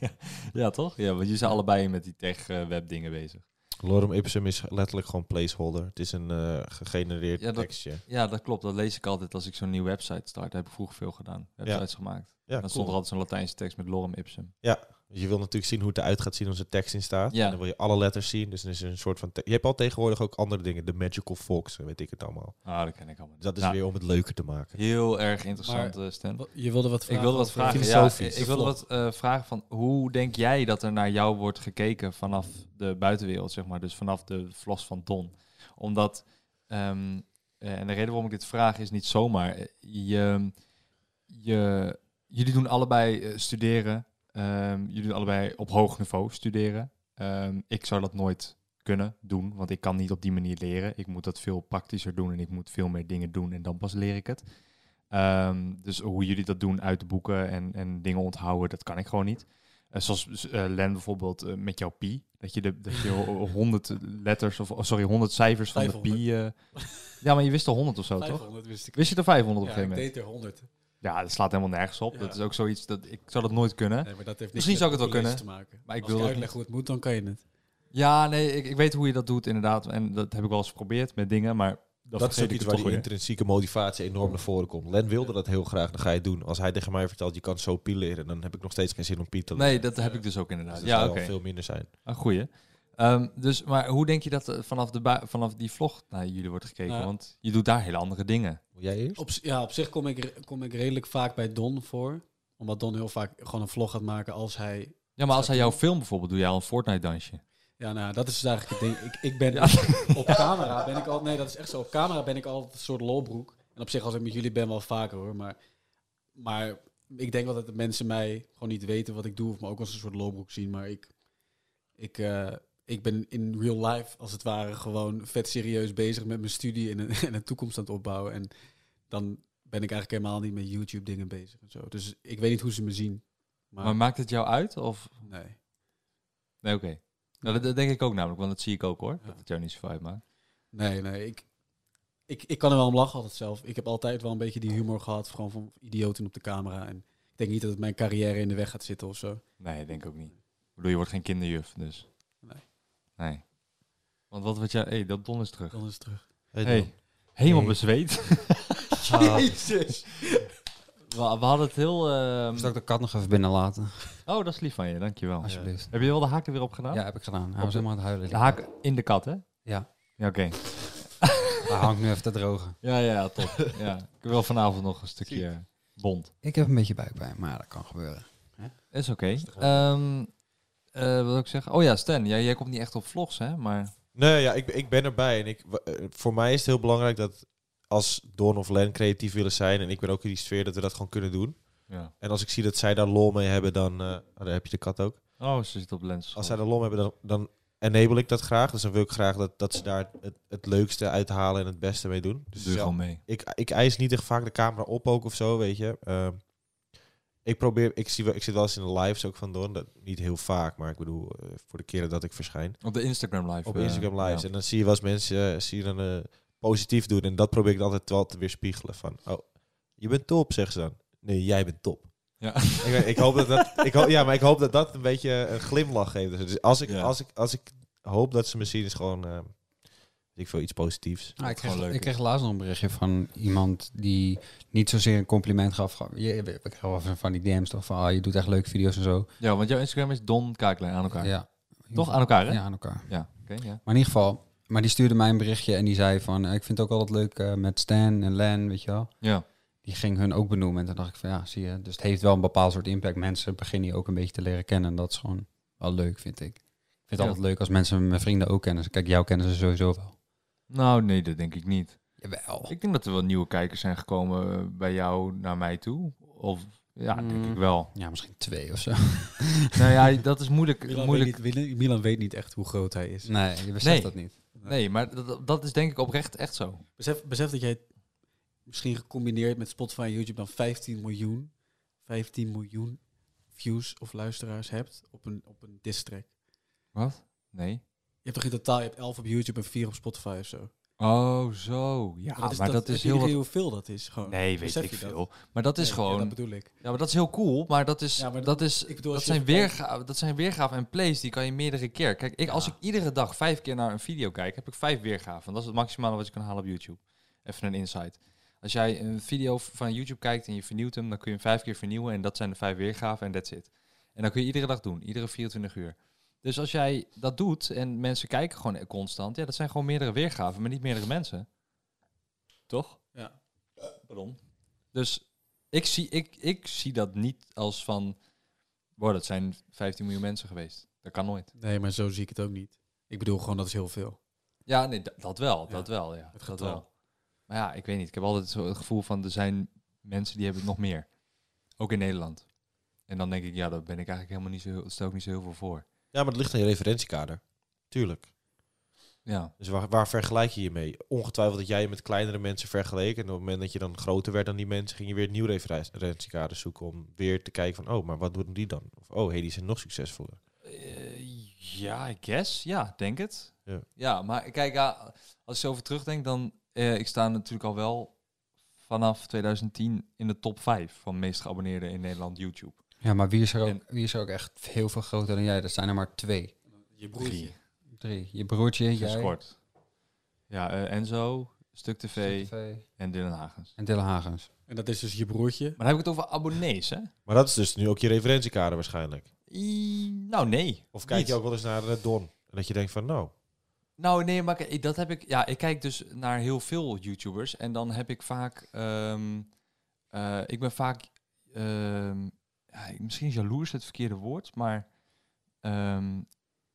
Speaker 5: ja.
Speaker 2: Ja, toch? Ja, want jullie zijn allebei met die tech-web dingen bezig.
Speaker 5: Lorem Ipsum is letterlijk gewoon placeholder. Het is een eh, gegenereerd
Speaker 2: Ja, dat-
Speaker 5: tekstje.
Speaker 2: Ja, dat klopt. Dat lees ik altijd als ik zo'n nieuwe website start. Daar heb ik vroeger veel gedaan. Websites gemaakt.
Speaker 5: Ja,
Speaker 2: dan stond er
Speaker 5: cool.
Speaker 2: altijd zo'n Latijnse tekst met lorem ipsum.
Speaker 5: Je wil natuurlijk zien hoe het eruit gaat zien als er tekst in staat.
Speaker 2: Ja.
Speaker 5: En dan wil je alle letters zien. Dus dan is er een soort van... te- Je hebt al tegenwoordig ook andere dingen. De Magical Fox, en weet ik het allemaal.
Speaker 2: Ah, dat ken ik allemaal niet.
Speaker 5: Dus dat is
Speaker 2: Nou,
Speaker 5: weer om het leuker te maken.
Speaker 2: Heel erg interessant, eh, Stan.
Speaker 4: Wa- Je wilde wat vragen?
Speaker 2: Ik wilde wat
Speaker 4: over-
Speaker 2: vragen. Ja,
Speaker 5: Filosofisch.
Speaker 2: ik ik wilde wat eh, vragen van hoe denk jij dat er naar jou wordt gekeken vanaf de buitenwereld, zeg maar, dus vanaf de vlos van Don? Omdat, ehm, eh, en de reden waarom ik dit vraag is niet zomaar. Eh, Je, je, jullie doen allebei eh, studeren, Ehm, jullie doen allebei op hoog niveau studeren. Ehm, ik zou dat nooit kunnen doen, want ik kan niet op die manier leren. Ik moet dat veel praktischer doen en ik moet veel meer dingen doen en dan pas leer ik het. Ehm, dus hoe jullie dat doen uit de boeken en, en dingen onthouden, dat kan ik gewoon niet. Eh, zoals eh, Len bijvoorbeeld eh, met jouw pi. Dat je, de, dat je ho- 100 letters, of oh, sorry, 100 cijfers van de pi... eh, ja, maar je wist er 100 of zo, toch?
Speaker 4: 500 wist ik.
Speaker 2: Wist je er 500 op een
Speaker 4: Ja,
Speaker 2: gegeven
Speaker 4: ik
Speaker 2: moment?
Speaker 4: deed er 100.
Speaker 2: Ja, dat slaat helemaal nergens op.
Speaker 4: Ja.
Speaker 2: Dat is ook zoiets, dat, ik zou dat nooit kunnen.
Speaker 4: Nee, maar dat heeft niks
Speaker 2: Misschien
Speaker 4: met
Speaker 2: zou ik het wel
Speaker 4: college
Speaker 2: kunnen,
Speaker 4: Te maken.
Speaker 2: maar ik
Speaker 4: Als
Speaker 2: wil
Speaker 4: ik
Speaker 2: dat
Speaker 4: uitleg
Speaker 2: niet.
Speaker 4: hoe het moet, dan kan je het.
Speaker 2: Ja, nee, ik, ik weet hoe je dat doet inderdaad. En dat heb ik wel eens geprobeerd met dingen, maar dat,
Speaker 5: Dat is ook
Speaker 2: vergeet
Speaker 5: iets
Speaker 2: ik
Speaker 5: waar
Speaker 2: toch
Speaker 5: die
Speaker 2: weer.
Speaker 5: intrinsieke motivatie enorm naar voren komt. Len wilde dat heel graag, dan ga je het doen. Als hij tegen mij vertelt, je kan zo pi leren, dan heb ik nog steeds geen zin om pi te leren.
Speaker 2: Nee, dat heb ik dus ook inderdaad.
Speaker 5: Dus dat
Speaker 2: ja,
Speaker 5: zou
Speaker 2: oké.
Speaker 5: wel veel minder zijn.
Speaker 2: Een goeie. Ehm, dus, maar hoe denk je dat er vanaf, de bui- vanaf die vlog naar jullie wordt gekeken?
Speaker 4: Nou.
Speaker 2: Want je doet daar hele andere dingen.
Speaker 5: Wil jij eerst?
Speaker 4: Op, z- ja, op zich kom ik, re- kom ik redelijk vaak bij Don voor. Omdat Don heel vaak gewoon een vlog gaat maken als hij...
Speaker 2: Ja, maar als hij jouw film bijvoorbeeld, doe jij al een Fortnite-dansje.
Speaker 4: Ja, nou, dat is dus eigenlijk het ding. Ik, ik ben op camera ben ik al... Nee, dat is echt zo. Op camera ben ik altijd een soort lolbroek. En op zich, als ik met jullie ben, wel vaker hoor. Maar Maar ik denk wel dat de mensen mij gewoon niet weten wat ik doe. Of me ook als een soort lolbroek zien. Maar ik, ik, eh, ik ben in real life, als het ware, gewoon vet serieus bezig met mijn studie en een, en een toekomst aan het opbouwen. En dan ben ik eigenlijk helemaal niet met YouTube dingen bezig. En zo. Dus ik weet niet hoe ze me zien. Maar,
Speaker 2: Maar maakt het jou uit? Of...
Speaker 4: nee.
Speaker 2: Nee, oké. Nou, dat, dat denk ik ook namelijk, want dat zie ik ook hoor.
Speaker 4: Ja.
Speaker 2: Dat het jou niet zoveel uitmaakt.
Speaker 4: Nee, nee. Ik, ik, ik kan er wel om lachen altijd zelf. Ik heb altijd wel een beetje die humor gehad. Gewoon van idioten op de camera. En ik denk niet dat het mijn carrière in de weg gaat zitten of zo.
Speaker 2: Nee, denk ik ook niet. Ik bedoel, je wordt geen kinderjuf, dus.
Speaker 4: Nee.
Speaker 2: Nee. Want wat wat jij... Hé, dat Don is terug.
Speaker 4: Dan is het terug.
Speaker 5: Hey,
Speaker 2: Hey, helemaal
Speaker 5: Hey.
Speaker 2: bezweet.
Speaker 4: Ah. Jezus!
Speaker 2: We, we hadden het heel... ehm,
Speaker 3: Zal ik de kat nog even binnenlaten?
Speaker 2: Oh, dat is lief van je, dankjewel.
Speaker 3: Alsjeblieft.
Speaker 2: Heb je wel de haken weer opgedaan?
Speaker 3: Ja, heb ik gedaan. Hij was
Speaker 2: de-
Speaker 3: helemaal aan het huilen.
Speaker 2: De haken in de kat, hè?
Speaker 3: Ja.
Speaker 2: Ja, oké.
Speaker 3: Hij hangt nu even te drogen.
Speaker 2: Ja, ja, top. ja. Ik wil vanavond nog een stukje eh, bond.
Speaker 3: Ik heb een beetje buikpijn, maar dat kan gebeuren.
Speaker 2: Is oké. Ehm eh, wat wil ik zeggen? Oh ja, Stan, jij, jij komt niet echt op vlogs, hè? Maar
Speaker 5: Nee, ja, ik, ik ben erbij. En ik, w- eh, voor mij is het heel belangrijk dat als Don of Len creatief willen zijn... en ik ben ook in die sfeer, dat we dat gewoon kunnen doen.
Speaker 2: ja.
Speaker 5: En als ik zie dat zij daar lol mee hebben, dan... eh, oh, daar heb je de kat ook.
Speaker 2: Oh, ze zit op lens.
Speaker 5: Als zij daar lol mee hebben, dan, dan enable ik dat graag. Dus dan wil ik graag dat, dat ze daar het, het leukste uithalen en het beste mee doen. Dus
Speaker 2: Doe
Speaker 5: zelf-
Speaker 2: gewoon mee.
Speaker 5: ik, ik eis niet echt vaak de camera op ook of zo, weet je. Ehm, ik probeer, ik, zie wel, ik zit wel eens in de lives ook van Don, dat, niet heel vaak, maar ik bedoel, eh, voor de keren dat ik verschijn.
Speaker 2: Op de Instagram live.
Speaker 5: Op
Speaker 2: eh,
Speaker 5: Instagram lives.
Speaker 2: ja.
Speaker 5: En dan zie je wel eens mensen, eh, zie je dan eh, positief doen. En dat probeer ik dan altijd wel te weerspiegelen van, oh, je bent top, zeggen ze dan. Nee, jij bent top.
Speaker 2: Ja.
Speaker 5: Ik, weet- ik hoop dat dat, ik hoop, ja, maar ik hoop dat dat een beetje een glimlach geeft. Dus als ik,
Speaker 2: Ja.
Speaker 5: als ik, als ik hoop dat ze me zien, is gewoon, eh, weet ik veel, iets positiefs.
Speaker 3: ik, kreeg,
Speaker 2: gewoon leuk
Speaker 3: ik kreeg laatst nog een berichtje van iemand die niet zozeer een compliment gaf. Gewoon- Je, ik kreeg wel van- van die DM's toch van, ah, je doet echt leuke video's en zo.
Speaker 2: ja, want jouw Instagram is Don Kaaklijn aan elkaar.
Speaker 3: Ja.
Speaker 2: Toch aan elkaar, hè?
Speaker 3: Ja, aan elkaar.
Speaker 2: Ja, oké, ja.
Speaker 3: Maar in ieder geval, maar die stuurde mij een berichtje en die zei van, eh, ik vind het ook altijd leuk eh, met Stan en Len, weet je wel.
Speaker 2: Ja,
Speaker 3: Die ging hun ook benoemen en toen dacht ik van, ja, zie je. Dus het heeft wel een bepaald soort impact. Mensen beginnen je ook een beetje te leren kennen en dat is gewoon wel leuk, vind ik. Ik vind het
Speaker 2: Ja.
Speaker 3: altijd leuk als mensen mijn vrienden ook kennen. Kijk, jou kennen ze sowieso wel.
Speaker 2: Nou, nee, dat denk ik niet.
Speaker 3: Jawel.
Speaker 2: Ik denk dat er wel nieuwe kijkers zijn gekomen eh, bij jou naar mij toe. Of, ja, denk
Speaker 4: Mm.
Speaker 2: ik wel.
Speaker 3: Ja, misschien twee of zo.
Speaker 2: nou ja, dat is moeilijk.
Speaker 4: Milan,
Speaker 2: moeilijk.
Speaker 4: Weet niet, Milan- Milan weet niet echt hoe groot hij is.
Speaker 3: Nee, je beseft
Speaker 2: Nee.
Speaker 3: dat niet.
Speaker 2: Nee, maar dat, dat is denk ik oprecht echt zo.
Speaker 4: Besef, besef dat jij misschien gecombineerd met Spotify en YouTube dan 15 miljoen, 15 miljoen views of luisteraars hebt op een, op een diss track.
Speaker 2: Wat? Nee.
Speaker 4: Je hebt toch in totaal, je hebt 11 op YouTube en 4 op Spotify of zo.
Speaker 2: Oh, zo. Ja,
Speaker 4: Maar dat is, dat, is
Speaker 2: heel wat...
Speaker 4: hoeveel dat is gewoon.
Speaker 2: Nee, weet
Speaker 4: Besef
Speaker 2: ik
Speaker 4: je dat?
Speaker 2: veel. Maar dat is
Speaker 4: Nee,
Speaker 2: gewoon...
Speaker 4: Ja,
Speaker 2: Ja,
Speaker 4: dat bedoel ik.
Speaker 2: maar dat is heel cool, maar dat is...
Speaker 4: Ja, maar
Speaker 2: dat, is
Speaker 4: ik bedoel,
Speaker 2: dat,
Speaker 4: als je
Speaker 2: zijn
Speaker 4: even
Speaker 2: weerga dat zijn weergaven en plays, die kan je meerdere keer... Kijk, ik, als ik iedere dag vijf keer naar een video kijk, heb ik vijf weergaven. Dat is het maximale wat je kan halen op YouTube. Even een insight. Als jij een video v- van YouTube kijkt en je vernieuwt hem, dan kun je hem vijf keer vernieuwen. En dat zijn de vijf weergaven en that's it. En dat kun je iedere dag doen, iedere 24 uur. Dus als jij dat doet en mensen kijken gewoon constant, ja, dat zijn gewoon meerdere weergaven, maar niet meerdere mensen. Toch?
Speaker 4: Ja.
Speaker 2: Pardon. Dus ik zie, ik, ik zie dat niet als van, wow, dat zijn 15 miljoen mensen geweest. Dat kan nooit.
Speaker 4: Nee, maar zo zie ik het ook niet. Ik bedoel gewoon, dat is heel veel.
Speaker 2: Ja, nee, da- dat wel,
Speaker 4: Ja,
Speaker 2: dat wel, ja.
Speaker 4: het
Speaker 2: dat
Speaker 4: getal.
Speaker 2: wel. Maar ja, ik weet niet. Ik heb altijd zo het gevoel van, er zijn mensen die hebben het nog meer. Ook in Nederland. En dan denk ik, ja, daar ben ik eigenlijk helemaal niet zo, heel- stel ik niet zo heel veel voor.
Speaker 5: Ja, maar het ligt aan je referentiekader. Tuurlijk.
Speaker 2: Ja,
Speaker 5: Dus waar, waar vergelijk je je mee? Ongetwijfeld dat jij je met kleinere mensen vergeleek. En op het moment dat je dan groter werd dan die mensen, ging je weer een nieuw referen- referentiekader zoeken. Om weer te kijken van, oh, maar wat doen die dan? Of, oh, hey, die zijn nog succesvoller.
Speaker 2: Eh, ja, I guess. Ja, denk het.
Speaker 5: Ja.
Speaker 2: maar kijk, ja, als ik zo over terugdenk, dan... eh, ik sta natuurlijk al wel vanaf 2010 in de top 5 van meest geabonneerden in Nederland YouTube.
Speaker 3: Ja, maar wie is, er ook,
Speaker 2: En-
Speaker 3: wie is er ook echt heel veel groter dan jij? Dat zijn er maar twee.
Speaker 4: Je
Speaker 2: Drie.
Speaker 3: Drie. Je broertje,
Speaker 2: Sinds
Speaker 3: jij,
Speaker 2: kort. Ja, eh, Enzo, Stuk TV
Speaker 3: TV
Speaker 2: en Dylan Hagens.
Speaker 3: en Dylan Hagens.
Speaker 4: En dat is dus je broertje.
Speaker 2: Maar dan heb ik het over abonnees, hè?
Speaker 5: Maar dat is dus nu ook je referentiekader waarschijnlijk.
Speaker 2: I- nou, nee.
Speaker 5: Of kijk je
Speaker 2: Niet.
Speaker 5: ook wel eens naar eh, Don? En dat je denkt van, nou,
Speaker 2: Nou, nee, maar ik- dat heb ik. Ja, ik kijk dus naar heel veel YouTubers. En dan heb ik vaak. ehm, eh, ik ben vaak. ehm, ja, ik- misschien is jaloers het verkeerde woord, maar. ehm,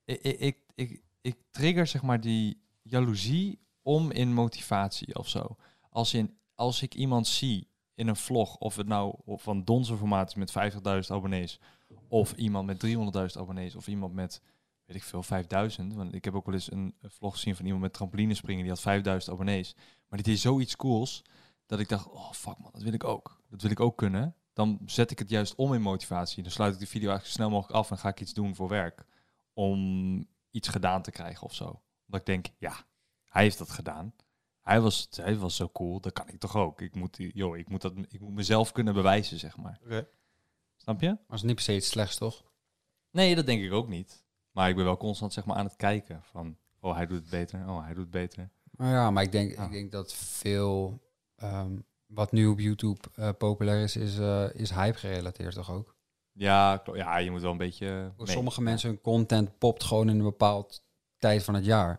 Speaker 2: ik, ik, ik, ik, ik trigger zeg maar die jaloezie om in motivatie of zo. Als, in, als ik iemand zie in een vlog, of het nou van Donse formaat is met 50.000 abonnees, of iemand met 300.000 abonnees, of iemand met, weet ik veel, 5000. Want ik heb ook wel eens een een vlog gezien van iemand met trampolinespringen, die had 5000 abonnees. Maar die deed zoiets cools, dat ik dacht, oh fuck man, dat wil ik ook. Dat wil ik ook kunnen. Dan zet ik het juist om in motivatie. Dan sluit ik de video eigenlijk zo snel mogelijk af en ga ik iets doen voor werk. Om iets gedaan te krijgen of zo. Omdat ik denk, ja, hij heeft dat gedaan. Hij was, hij was zo cool, dat kan ik toch ook. Ik moet, die- joh, ik moet, dat, ik moet mezelf kunnen bewijzen, zeg maar.
Speaker 5: Oké.
Speaker 2: Snap je?
Speaker 3: Maar is niet per se iets slechts, toch?
Speaker 2: Nee, dat denk ik ook niet. Maar ik ben wel constant zeg maar, aan het kijken van... Oh, hij doet het beter. Oh, hij doet het beter.
Speaker 3: Nou ja, maar ik denk,
Speaker 2: Ja.
Speaker 3: ik denk dat veel ehm, wat nu op YouTube eh, populair is, is, eh, is hype gerelateerd toch ook?
Speaker 2: Ja, klo- ja je moet wel een beetje...
Speaker 3: Voor
Speaker 2: mee.
Speaker 3: Oh, Sommige mensen hun content popt gewoon in een bepaald tijd van het jaar.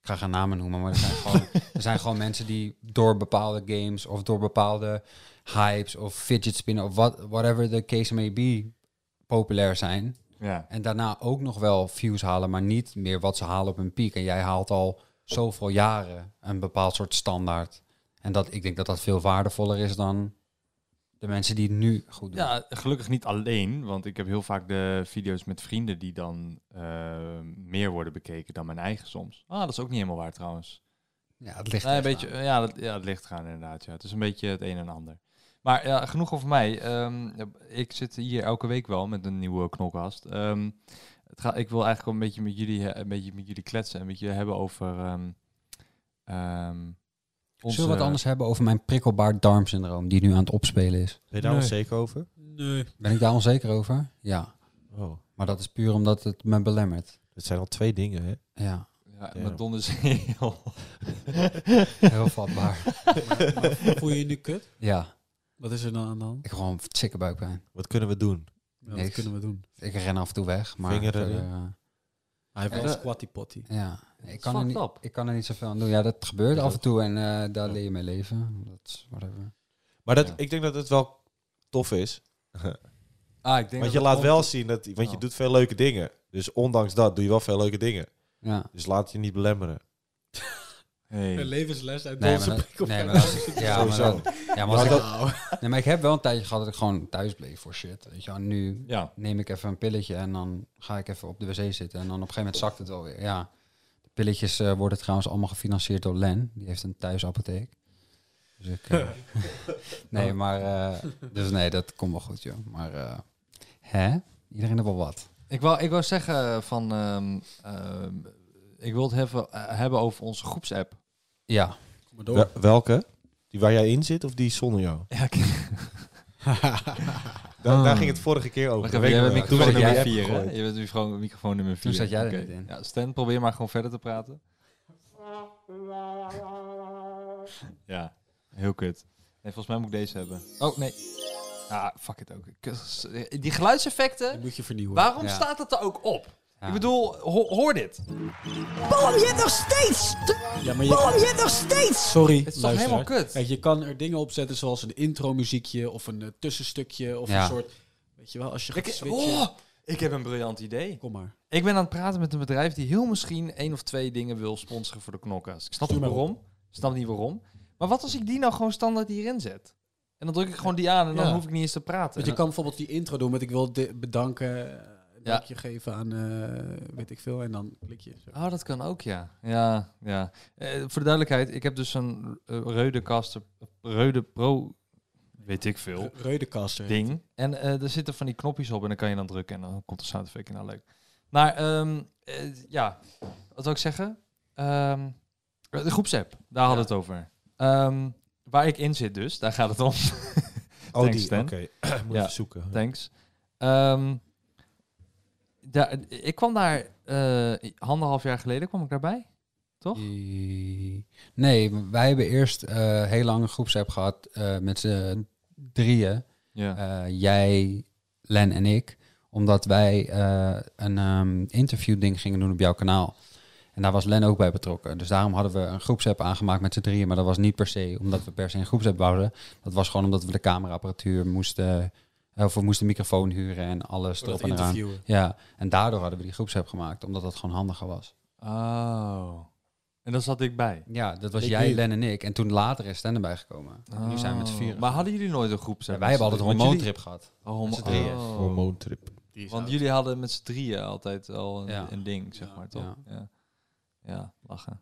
Speaker 3: Ik ga geen namen noemen, maar er zijn, gewoon, er zijn gewoon mensen die door bepaalde games of door bepaalde hypes of fidget spinnen of wat, whatever the case may be, populair zijn.
Speaker 2: Ja.
Speaker 3: En daarna ook nog wel views halen, maar niet meer wat ze halen op hun piek. En jij haalt al zoveel jaren een bepaald soort standaard. En dat, ik denk dat dat veel waardevoller is dan de mensen die het nu goed doen.
Speaker 2: Ja, gelukkig niet alleen, want ik heb heel vaak de video's met vrienden die dan eh, meer worden bekeken dan mijn eigen soms. Ah, dat is ook niet helemaal waar trouwens.
Speaker 3: Ja, het ligt
Speaker 2: Nee, een
Speaker 3: echt
Speaker 2: beetje,
Speaker 3: aan.
Speaker 2: eh, ja, dat, ja, het ligt gaan inderdaad. Ja. Het is een beetje het een en ander. Maar ja, genoeg over mij. Ehm, ik zit hier elke week wel met een nieuwe knolkast. Ehm, het gaat, ik wil eigenlijk wel een beetje met jullie, eh, een beetje met jullie kletsen en een beetje hebben over. ehm ehm, onze-
Speaker 3: Zullen we wat anders hebben over mijn prikkelbaar darmsyndroom die nu aan het opspelen is?
Speaker 5: Ben je daar
Speaker 2: Nee.
Speaker 5: onzeker over?
Speaker 4: Nee.
Speaker 3: Ben ik daar onzeker over? Ja.
Speaker 5: Oh,
Speaker 3: Maar dat is puur omdat het me belemmert.
Speaker 5: dat zijn al twee dingen, hè?
Speaker 3: Ja,
Speaker 2: Ja,
Speaker 5: Ja.
Speaker 2: maar Don is heel.
Speaker 3: heel vatbaar.
Speaker 4: Voel je je nu kut?
Speaker 3: ja,
Speaker 4: Wat is er dan aan de hand?
Speaker 3: ik heb gewoon zikke buikpijn.
Speaker 5: Wat kunnen we doen?
Speaker 4: Ja, wat
Speaker 3: Niks.
Speaker 4: kunnen we doen?
Speaker 3: Ik ren af en toe weg, maar...
Speaker 5: Vingeren,
Speaker 3: verder,
Speaker 5: hè?
Speaker 3: eh,
Speaker 4: Hij
Speaker 2: Ja,
Speaker 4: heeft wel een
Speaker 2: dat-
Speaker 4: squatty potty.
Speaker 3: Ja, ik kan, er
Speaker 2: fucked
Speaker 3: niet,
Speaker 2: up.
Speaker 3: ik kan er niet zoveel aan doen. Ja, dat gebeurt
Speaker 5: Ja,
Speaker 3: af en
Speaker 5: dat-
Speaker 3: toe en eh, daar leer je mee leven. Dat is whatever.
Speaker 5: Maar dat,
Speaker 2: Ja.
Speaker 5: ik denk dat het wel tof is.
Speaker 2: Ah, ik denk dat
Speaker 5: Want je
Speaker 2: het
Speaker 5: laat
Speaker 2: komt-
Speaker 5: wel zien dat... Want je
Speaker 2: Oh.
Speaker 5: doet veel leuke dingen. Dus ondanks dat doe je wel veel leuke dingen.
Speaker 3: Ja.
Speaker 5: Dus laat je niet belemmeren.
Speaker 2: Hey.
Speaker 4: Een levensles uit
Speaker 3: Nee, maar
Speaker 4: onze
Speaker 3: dat-
Speaker 4: prikkel.
Speaker 3: nee, maar dat- ja, maar
Speaker 5: Sowieso.
Speaker 3: dat- ja, maar als
Speaker 5: Maar
Speaker 3: ik-
Speaker 5: dat,
Speaker 3: nee, maar ik heb wel een tijdje gehad dat ik gewoon thuis bleef voor shit. Weet je wel. Nu
Speaker 2: Ja.
Speaker 3: neem ik even een pilletje en dan ga ik even op de wc zitten. En dan op een gegeven moment zakt het wel weer. Ja. De pilletjes eh, worden trouwens allemaal gefinancierd door Len. Die heeft een thuisapotheek. Dus ik... eh, nee, maar... eh, dus nee, dat komt wel goed, joh. Maar... eh, hè? Iedereen heeft wel wat.
Speaker 2: Ik wou, ik wou zeggen van, ehm, ehm, ik wil het heffen- eh, hebben over onze groepsapp.
Speaker 3: Ja.
Speaker 4: Kom maar door.
Speaker 5: wel- welke? Die waar jij in zit of die zonder jou?
Speaker 2: Ja, ik,
Speaker 5: Daar, daar ging het vorige keer over.
Speaker 2: Ah. jij
Speaker 5: Weet je
Speaker 2: bent
Speaker 5: nog?
Speaker 2: microfoon
Speaker 5: Toen werd
Speaker 2: nummer
Speaker 5: in die
Speaker 2: 4,
Speaker 5: app
Speaker 2: hè?
Speaker 5: gegooid.
Speaker 2: Je bent nu gewoon microfoon nummer 4.
Speaker 3: zat jij er niet in.
Speaker 2: Ja, Stan, probeer maar gewoon verder te praten. ja, heel kut. Nee, volgens mij moet ik deze hebben. Oh, nee. Ah, fuck it ook. Kus- Die
Speaker 4: Die
Speaker 2: geluidseffecten,
Speaker 4: moet je vernieuwen.
Speaker 2: waarom
Speaker 3: Ja.
Speaker 2: staat dat er ook op?
Speaker 3: Ja.
Speaker 2: Ik bedoel, ho- hoor dit.
Speaker 7: Waarom je het nog steeds?
Speaker 4: Ja, maar
Speaker 7: Waarom
Speaker 4: je...
Speaker 7: je het nog steeds?
Speaker 4: Sorry,
Speaker 2: is toch
Speaker 4: luisteraar.
Speaker 2: helemaal kut?
Speaker 4: Kijk, je kan er dingen op zetten zoals een intro-muziekje of een eh, tussenstukje of
Speaker 3: Ja.
Speaker 4: een soort... Weet je wel, als je gaat
Speaker 2: Ik,
Speaker 4: switchen...
Speaker 2: oh, ik heb een briljant idee.
Speaker 4: Kom maar.
Speaker 2: Ik ben aan het praten met een bedrijf die heel misschien één of twee dingen wil sponsoren voor de knokkers. Ik snap niet waarom. Ik snap niet waarom. Maar wat als ik die nou gewoon standaard hierin zet? En dan druk ik gewoon die aan en dan
Speaker 4: Ja.
Speaker 2: hoef ik niet eens te praten.
Speaker 4: Want je
Speaker 2: En dan-
Speaker 4: kan bijvoorbeeld die intro doen met ik wil di- bedanken, een
Speaker 2: Ja.
Speaker 4: dankje geven aan eh, weet ik veel. En dan klik je. Zo.
Speaker 2: Oh, dat kan ook, ja. Ja, ja. Eh, voor de duidelijkheid, ik heb dus een eh, Rode Caster, Rode Pro, weet ik veel,
Speaker 4: Reudekaster.
Speaker 2: ding. En eh er zitten van die knopjes op en dan kan je dan drukken en dan komt de sound effect in. Nou, leuk. Maar ehm, eh, ja, wat wil ik zeggen? Ehm, de groepsapp, daar hadden we het over. Ehm, waar ik in zit dus, daar gaat het om.
Speaker 5: Oh,
Speaker 2: Thanks,
Speaker 5: die. Oké.
Speaker 2: Stan.
Speaker 5: Moet
Speaker 2: Ja.
Speaker 5: even zoeken.
Speaker 2: Thanks. Ehm, daar, ik kwam daar eh, anderhalf jaar geleden, kwam ik daarbij. Toch?
Speaker 3: I- Nee, wij hebben eerst eh, heel lang een groepsapp gehad eh, met z'n drieën.
Speaker 2: Ja.
Speaker 3: Eh, jij, Len en ik. Omdat wij eh, een ehm interview ding gingen doen op jouw kanaal. En daar was Len ook bij betrokken. Dus daarom hadden we een groepsapp aangemaakt met z'n drieën. Maar dat was niet per se omdat we per se een groepsapp bouwden. Dat was gewoon omdat we de cameraapparatuur moesten... eh, Of we moesten een microfoon huren en alles
Speaker 4: Voor dat
Speaker 3: erop en eraan.
Speaker 4: interviewen.
Speaker 3: Ja, en daardoor hadden we die groepsapp gemaakt. Omdat dat gewoon handiger was.
Speaker 2: Oh. En daar zat ik bij.
Speaker 3: Ja, dat was
Speaker 5: Ik
Speaker 3: jij,
Speaker 5: niet.
Speaker 3: Len en ik. En toen later is Stan erbij gekomen. En Nu zijn we met z'n
Speaker 2: Oh,
Speaker 3: vieren.
Speaker 2: Maar hadden jullie nooit een groep?
Speaker 3: Ja, wij hebben altijd een hormoontrip gehad.
Speaker 2: Oh, homo-
Speaker 3: met z'n drieën.
Speaker 2: oh.
Speaker 5: Hormoontrip.
Speaker 4: Die is
Speaker 2: Want
Speaker 4: oud.
Speaker 2: jullie hadden met z'n drieën altijd al een,
Speaker 3: Ja.
Speaker 2: een ding, zeg
Speaker 4: Ja.
Speaker 2: maar, toch? Ja. Ja. lachen.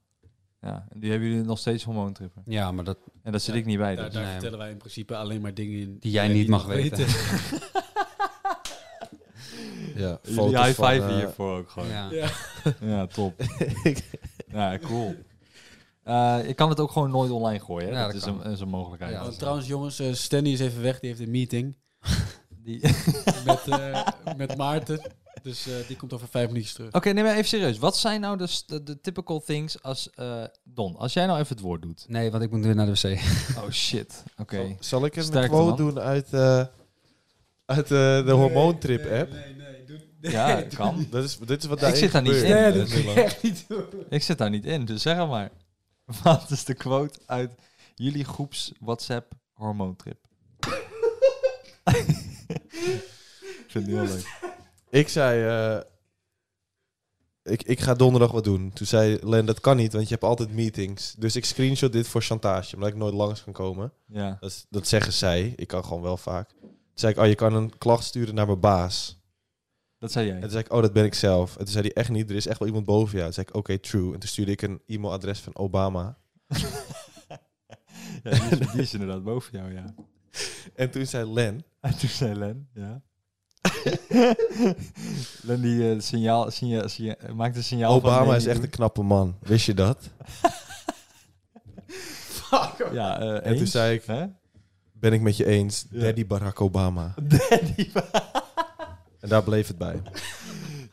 Speaker 2: Ja, en die hebben jullie nog steeds hormoontrippen.
Speaker 3: Ja, maar dat,
Speaker 2: En daar zit ik niet bij.
Speaker 4: Daar,
Speaker 2: dus.
Speaker 4: daar
Speaker 3: Nee.
Speaker 4: vertellen wij in principe alleen maar dingen in
Speaker 3: die jij niet mag weten.
Speaker 5: Ja,
Speaker 2: Jullie high five
Speaker 5: van, eh,
Speaker 2: hiervoor ook gewoon. Ja,
Speaker 3: Ja.
Speaker 2: top. ja, cool. Eh, ik kan het ook gewoon nooit online gooien. Hè?
Speaker 3: Ja,
Speaker 2: dat
Speaker 3: dat
Speaker 2: is
Speaker 3: kan.
Speaker 2: een, is een mogelijkheid.
Speaker 3: Ja,
Speaker 4: Oh,
Speaker 3: dat is-
Speaker 4: trouwens, jongens, eh Stanley is even weg. Die heeft een meeting
Speaker 2: Die-
Speaker 4: met, eh, met Maarten. Dus eh, die komt over vijf minuutjes terug.
Speaker 2: Oké, neem maar even serieus. Wat zijn nou de, st- de typical things als... eh, Don, als jij nou even het woord doet.
Speaker 3: Nee, want ik moet weer naar de wc.
Speaker 2: Oh shit. Oké.
Speaker 5: zal- Zal ik hem een
Speaker 2: Sterkte,
Speaker 5: quote
Speaker 2: man.
Speaker 5: doen uit, eh, uit eh, de hormoontrip app?
Speaker 4: Nee, nee, Nou, doe,
Speaker 2: Ja, kan.
Speaker 5: Dat is, dit is wat
Speaker 2: Ik
Speaker 5: daarin
Speaker 2: zit daar niet in.
Speaker 5: gebeurt.
Speaker 4: nee,
Speaker 2: dat
Speaker 4: dat
Speaker 5: is
Speaker 4: moet je echt niet doen.
Speaker 2: Ik zit daar niet in, dus zeg het maar. Wat is de quote uit jullie groeps WhatsApp hormoontrip? ik vind het heel leuk.
Speaker 5: Ik zei, eh, ik, ik ga donderdag wat doen. Toen zei Len, dat kan niet, want je hebt altijd meetings. Dus ik screenshot dit voor chantage, omdat ik nooit langs kan komen.
Speaker 2: Ja.
Speaker 5: Dat, is- dat zeggen zij, ik kan gewoon wel vaak. Toen zei ik, oh, je kan een klacht sturen naar mijn baas.
Speaker 2: Dat zei
Speaker 5: En toen
Speaker 2: jij.
Speaker 5: zei ik, oh, dat ben ik zelf. En toen zei hij, echt niet, er is echt wel iemand boven jou. Toen zei ik, oké, true. En toen stuurde ik een e-mailadres van Obama.
Speaker 2: Ja, die, is, die is inderdaad boven jou, ja.
Speaker 5: En toen zei Len,
Speaker 2: En toen zei Len, ja. Len die eh, signaal, signaal, signaal- maakt een signaal van...
Speaker 5: Obama
Speaker 2: nee,
Speaker 5: is
Speaker 2: niet
Speaker 5: echt een knappe man. Wist je dat?
Speaker 2: doen. Ja, eh,
Speaker 5: En toen
Speaker 2: eens,
Speaker 5: zei ik,
Speaker 2: hè?
Speaker 5: ben ik met je eens,
Speaker 2: Ja.
Speaker 5: daddy Barack Obama.
Speaker 2: Daddy.
Speaker 5: En daar bleef het bij.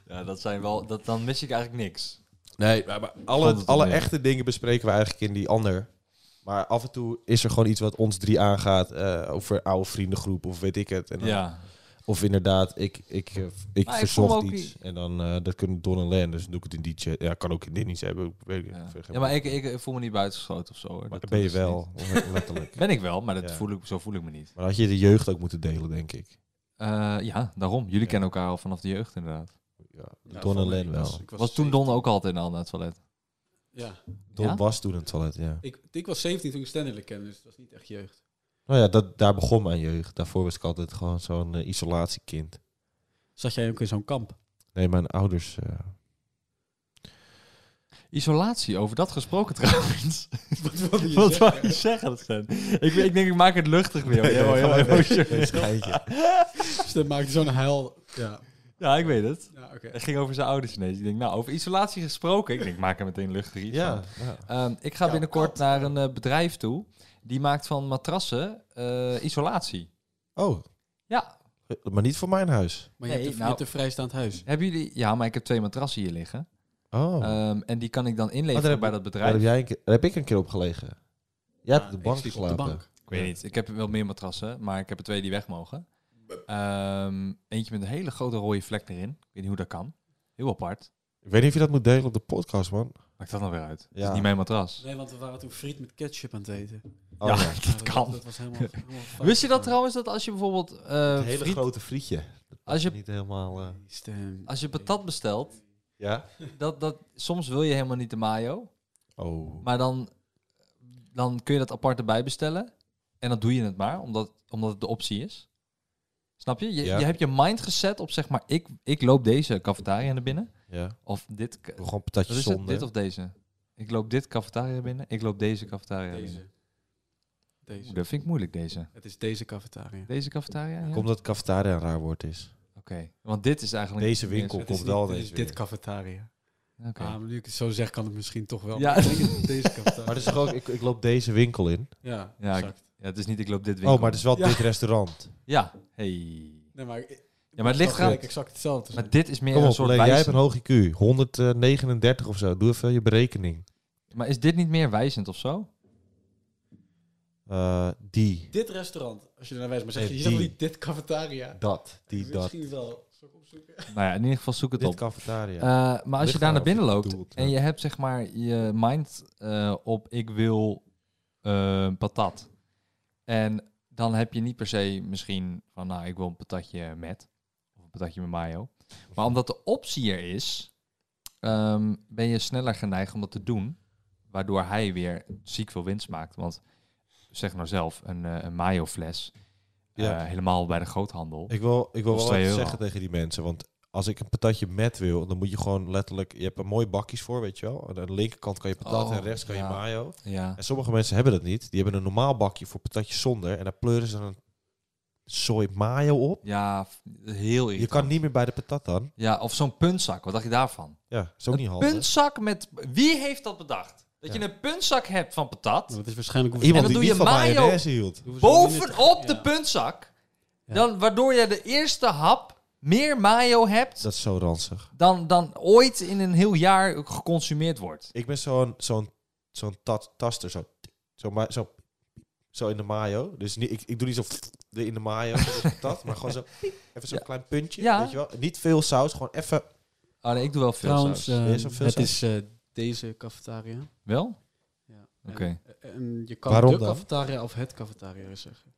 Speaker 2: Ja, dat zijn wel... Dat, dan mis ik eigenlijk niks.
Speaker 5: Nee, maar maar
Speaker 2: Vond
Speaker 5: alle,
Speaker 2: het
Speaker 5: alle
Speaker 2: mee.
Speaker 5: echte dingen bespreken we eigenlijk in die ander. Maar af en toe is er gewoon iets wat ons drie aangaat eh, over oude vriendengroep of weet ik het. En dan-
Speaker 2: Ja.
Speaker 5: Of inderdaad, ik, ik, eh, ik
Speaker 2: Maar ik
Speaker 5: verzocht
Speaker 2: vond ook
Speaker 5: iets. En dan eh, dat kunnen Don en Len, dus dan doe ik het in die chat. Ja, kan ook in dit niet hebben. ik Weet ik,
Speaker 2: Ja,
Speaker 5: vind geen-
Speaker 2: ja maar ik, ik voel me niet buitengesloten of zo. hoor.
Speaker 5: Maar
Speaker 2: Dat-
Speaker 5: dat ben je
Speaker 2: dat is niet-
Speaker 5: wel, le- letterlijk.
Speaker 2: Ben ik wel, maar dat
Speaker 5: Ja.
Speaker 2: voel ik, zo voel ik me niet.
Speaker 5: Maar had je de jeugd ook moeten delen, denk ik.
Speaker 2: Eh, ja, daarom. Jullie kennen elkaar al vanaf de jeugd inderdaad.
Speaker 5: Ja,
Speaker 4: Ja,
Speaker 5: Don en
Speaker 4: van-
Speaker 5: Len
Speaker 4: ik
Speaker 5: wel.
Speaker 4: ik
Speaker 2: Was toen Don ook altijd al naar het toilet?
Speaker 4: Ja,
Speaker 5: Don
Speaker 2: Ja?
Speaker 5: was toen in het toilet, ja.
Speaker 4: ik, ik was 17 toen ik Stanley kende, dus dat is niet echt jeugd.
Speaker 5: Nou ja, dat, daar begon mijn jeugd. Daarvoor was ik altijd gewoon zo'n eh, isolatiekind.
Speaker 4: Zat jij ook in zo'n kamp?
Speaker 5: Nee, mijn ouders... eh,
Speaker 2: Isolatie, over dat gesproken trouwens.
Speaker 4: Wat wilde je
Speaker 2: Wat wou
Speaker 4: zeggen?
Speaker 2: je zeggen, Sven? Ik, ik denk, ik maak het luchtig weer. hoor. Jij wordt
Speaker 5: Ja,
Speaker 2: heel
Speaker 5: ja, ja.
Speaker 2: emotioneel.
Speaker 4: Dus dat maakte zo'n huil. Ja,
Speaker 2: Ja, ik weet het.
Speaker 4: ja oké.
Speaker 2: Het ging over zijn ouders ineens. Ik denk, nou, over isolatie gesproken. Ik denk, ik maak er meteen luchtig iets van.
Speaker 5: Ja, ja.
Speaker 2: Ehm, ik ga binnenkort naar een eh, bedrijf toe. Die maakt van matrassen eh, isolatie.
Speaker 5: Oh,
Speaker 2: Ja,
Speaker 5: maar niet voor mijn huis.
Speaker 4: Maar je,
Speaker 2: Nee,
Speaker 4: hebt een, je
Speaker 2: nou-
Speaker 4: hebt een vrijstaand huis.
Speaker 2: hebben jullie... Ja, maar ik heb twee matrassen hier liggen.
Speaker 5: Oh,
Speaker 2: Ehm, en die kan ik dan
Speaker 5: Oh,
Speaker 2: inleveren
Speaker 5: daar heb-
Speaker 2: bij dat
Speaker 5: daar,
Speaker 2: bedrijf.
Speaker 5: heb jij een keer, daar heb ik een keer op gelegen. Jij hebt
Speaker 4: Ja,
Speaker 5: op de
Speaker 4: ik
Speaker 5: bank
Speaker 4: sliep
Speaker 5: geslapen.
Speaker 4: Op de bank.
Speaker 2: Ik weet niet. Ik heb wel meer matrassen, maar ik heb er twee die weg mogen. Ehm, eentje met een hele grote rode vlek erin. Ik weet niet hoe dat kan. Heel apart.
Speaker 5: Ik weet niet of je dat moet delen op de podcast, man.
Speaker 2: Maakt dat nou weer uit? Het is
Speaker 5: Ja.
Speaker 2: niet mijn matras.
Speaker 4: Nee, want we waren toen friet met ketchup aan het eten. Ja,
Speaker 5: Oh,
Speaker 2: ja,
Speaker 5: ja.
Speaker 2: dat kan.
Speaker 4: Dat was helemaal, helemaal fout.
Speaker 2: Wist je dat trouwens, dat als je bijvoorbeeld... eh,
Speaker 5: Een hele
Speaker 2: friet-
Speaker 5: grote frietje. Dat
Speaker 2: Als je-
Speaker 5: is Niet helemaal... eh,
Speaker 4: Stem.
Speaker 2: Als je patat bestelt,
Speaker 5: Ja?
Speaker 2: dat, dat, soms wil je helemaal niet de mayo.
Speaker 5: Oh.
Speaker 2: Maar dan, dan kun je dat apart erbij bestellen. En dan doe je het maar, omdat, omdat het de optie is. Snap je? Je,
Speaker 5: Ja.
Speaker 2: je hebt je mind gezet op zeg maar, ik, ik loop deze cafetaria naar binnen.
Speaker 5: Ja.
Speaker 2: Of dit. k-
Speaker 5: Gewoon
Speaker 2: Wat
Speaker 5: patatjes
Speaker 2: is het?
Speaker 5: zonder.
Speaker 2: Dit of deze? Ik loop dit cafetaria binnen. Ik loop deze cafetaria binnen.
Speaker 4: Deze.
Speaker 2: Oeh,
Speaker 4: Deze.
Speaker 2: dat vind ik moeilijk, deze.
Speaker 4: Het is deze cafetaria.
Speaker 2: Deze cafetaria? Ja?
Speaker 5: Komt
Speaker 2: Oké.
Speaker 5: dat cafetaria een raar woord is.
Speaker 2: Want dit is eigenlijk...
Speaker 5: Deze winkel
Speaker 4: Het
Speaker 5: komt
Speaker 4: is,
Speaker 5: wel
Speaker 4: niet, het is
Speaker 5: deze
Speaker 4: dit
Speaker 5: weer.
Speaker 4: cafetaria.
Speaker 2: Oké.
Speaker 4: Ah, maar nu ik het zo zeg, kan het misschien toch wel.
Speaker 2: Ja.
Speaker 4: Ik denk het deze cafetaria.
Speaker 5: Maar het is toch ook, ik, ik loop deze winkel in.
Speaker 4: Ja,
Speaker 2: Ja, ik-
Speaker 4: exact.
Speaker 2: Ja, het is niet ik loop dit winkel.
Speaker 5: Oh, maar het is wel
Speaker 4: Ja.
Speaker 5: dit restaurant.
Speaker 2: Ja. Hey.
Speaker 4: Nee, maar, ik-
Speaker 2: Ja, maar het ligt
Speaker 4: ik zag
Speaker 2: eraan.
Speaker 4: gelijk exact hetzelfde. te
Speaker 2: Maar
Speaker 4: zijn.
Speaker 2: dit is meer
Speaker 5: Kom
Speaker 2: een
Speaker 5: op,
Speaker 2: soort
Speaker 5: Leen, jij hebt een
Speaker 2: wijzend.
Speaker 5: hoog IQ. 139 of zo. Doe even je berekening.
Speaker 2: Maar is dit niet meer wijzend of zo?
Speaker 5: Eh, die.
Speaker 4: Dit restaurant, als je er naar wijst, maar zeg je,
Speaker 5: Nee,
Speaker 4: je zegt
Speaker 5: die.
Speaker 4: niet dit cafetaria.
Speaker 5: Dat. Die, dat.
Speaker 4: Misschien wel. Zal ik opzoeken?
Speaker 2: Nou ja, in ieder geval zoek het
Speaker 5: Dit
Speaker 2: op.
Speaker 5: cafetaria.
Speaker 2: Eh, maar als je
Speaker 5: Ligt
Speaker 2: daar naar
Speaker 5: eraan
Speaker 2: binnen
Speaker 5: of je
Speaker 2: loopt
Speaker 5: doelt,
Speaker 2: en
Speaker 5: ja.
Speaker 2: je hebt zeg maar je mind eh, op ik wil eh, patat. En dan heb je niet per se misschien van nou ik wil een patatje met of een patatje met mayo. Maar omdat de optie er is, ehm, ben je sneller geneigd om dat te doen. Waardoor hij weer ziek veel winst maakt. Want zeg nou zelf, een, eh, een mayo fles,
Speaker 5: Ja.
Speaker 2: eh, helemaal bij de groothandel.
Speaker 5: Ik wil, ik wil
Speaker 2: Kost
Speaker 5: wel
Speaker 2: twee
Speaker 5: wat
Speaker 2: euro.
Speaker 5: zeggen tegen die mensen. Want als ik een patatje met wil, dan moet je gewoon letterlijk... Je hebt er mooie bakjes voor, weet je wel. Aan de linkerkant kan je patat
Speaker 2: Oh,
Speaker 5: en rechts kan
Speaker 2: ja.
Speaker 5: je mayo.
Speaker 2: ja.
Speaker 5: En sommige mensen hebben dat niet. Die hebben een normaal bakje voor patatjes zonder. En daar pleuren ze een sooi mayo op.
Speaker 2: ja, f- heel
Speaker 5: Je
Speaker 2: irritant.
Speaker 5: kan niet meer bij de patat dan.
Speaker 2: Ja, of zo'n puntzak. Wat dacht je daarvan?
Speaker 5: Ja, is ook niet
Speaker 2: een
Speaker 5: handig.
Speaker 2: puntzak met... Wie heeft dat bedacht? Dat je een puntzak hebt van patat,
Speaker 4: Maar dat is waarschijnlijk hoeveel-
Speaker 5: Iemand
Speaker 2: En dan
Speaker 5: die
Speaker 2: doe
Speaker 5: niet
Speaker 2: je
Speaker 5: van
Speaker 2: mayo.
Speaker 5: mayonaise hield.
Speaker 4: hoeveel minuten-
Speaker 2: bovenop de
Speaker 4: Ja.
Speaker 2: puntzak. Dan, waardoor je de eerste hap meer mayo hebt
Speaker 5: Dat is zo ranzig.
Speaker 2: dan, dan ooit in een heel jaar geconsumeerd wordt.
Speaker 5: Ik ben zo'n zo'n zo'n tat- taster, zo, zo, ma- zo, zo in de mayo. Dus niet, ik, ik doe niet zo in de mayo, dat, maar gewoon zo, even zo'n klein puntje,
Speaker 2: Ja.
Speaker 5: weet je wel. Niet veel saus, gewoon even.
Speaker 2: Ah, nee, ik doe wel veel
Speaker 4: Trouwens,
Speaker 2: saus.
Speaker 4: eh,
Speaker 5: Is er veel
Speaker 4: het
Speaker 5: saus?
Speaker 4: is eh, deze cafetaria.
Speaker 2: Wel?
Speaker 4: Ja.
Speaker 2: Oké.
Speaker 4: En, Eh, en je kan
Speaker 5: Waarom
Speaker 4: de
Speaker 5: dan?
Speaker 4: cafetaria of het cafetaria zeggen.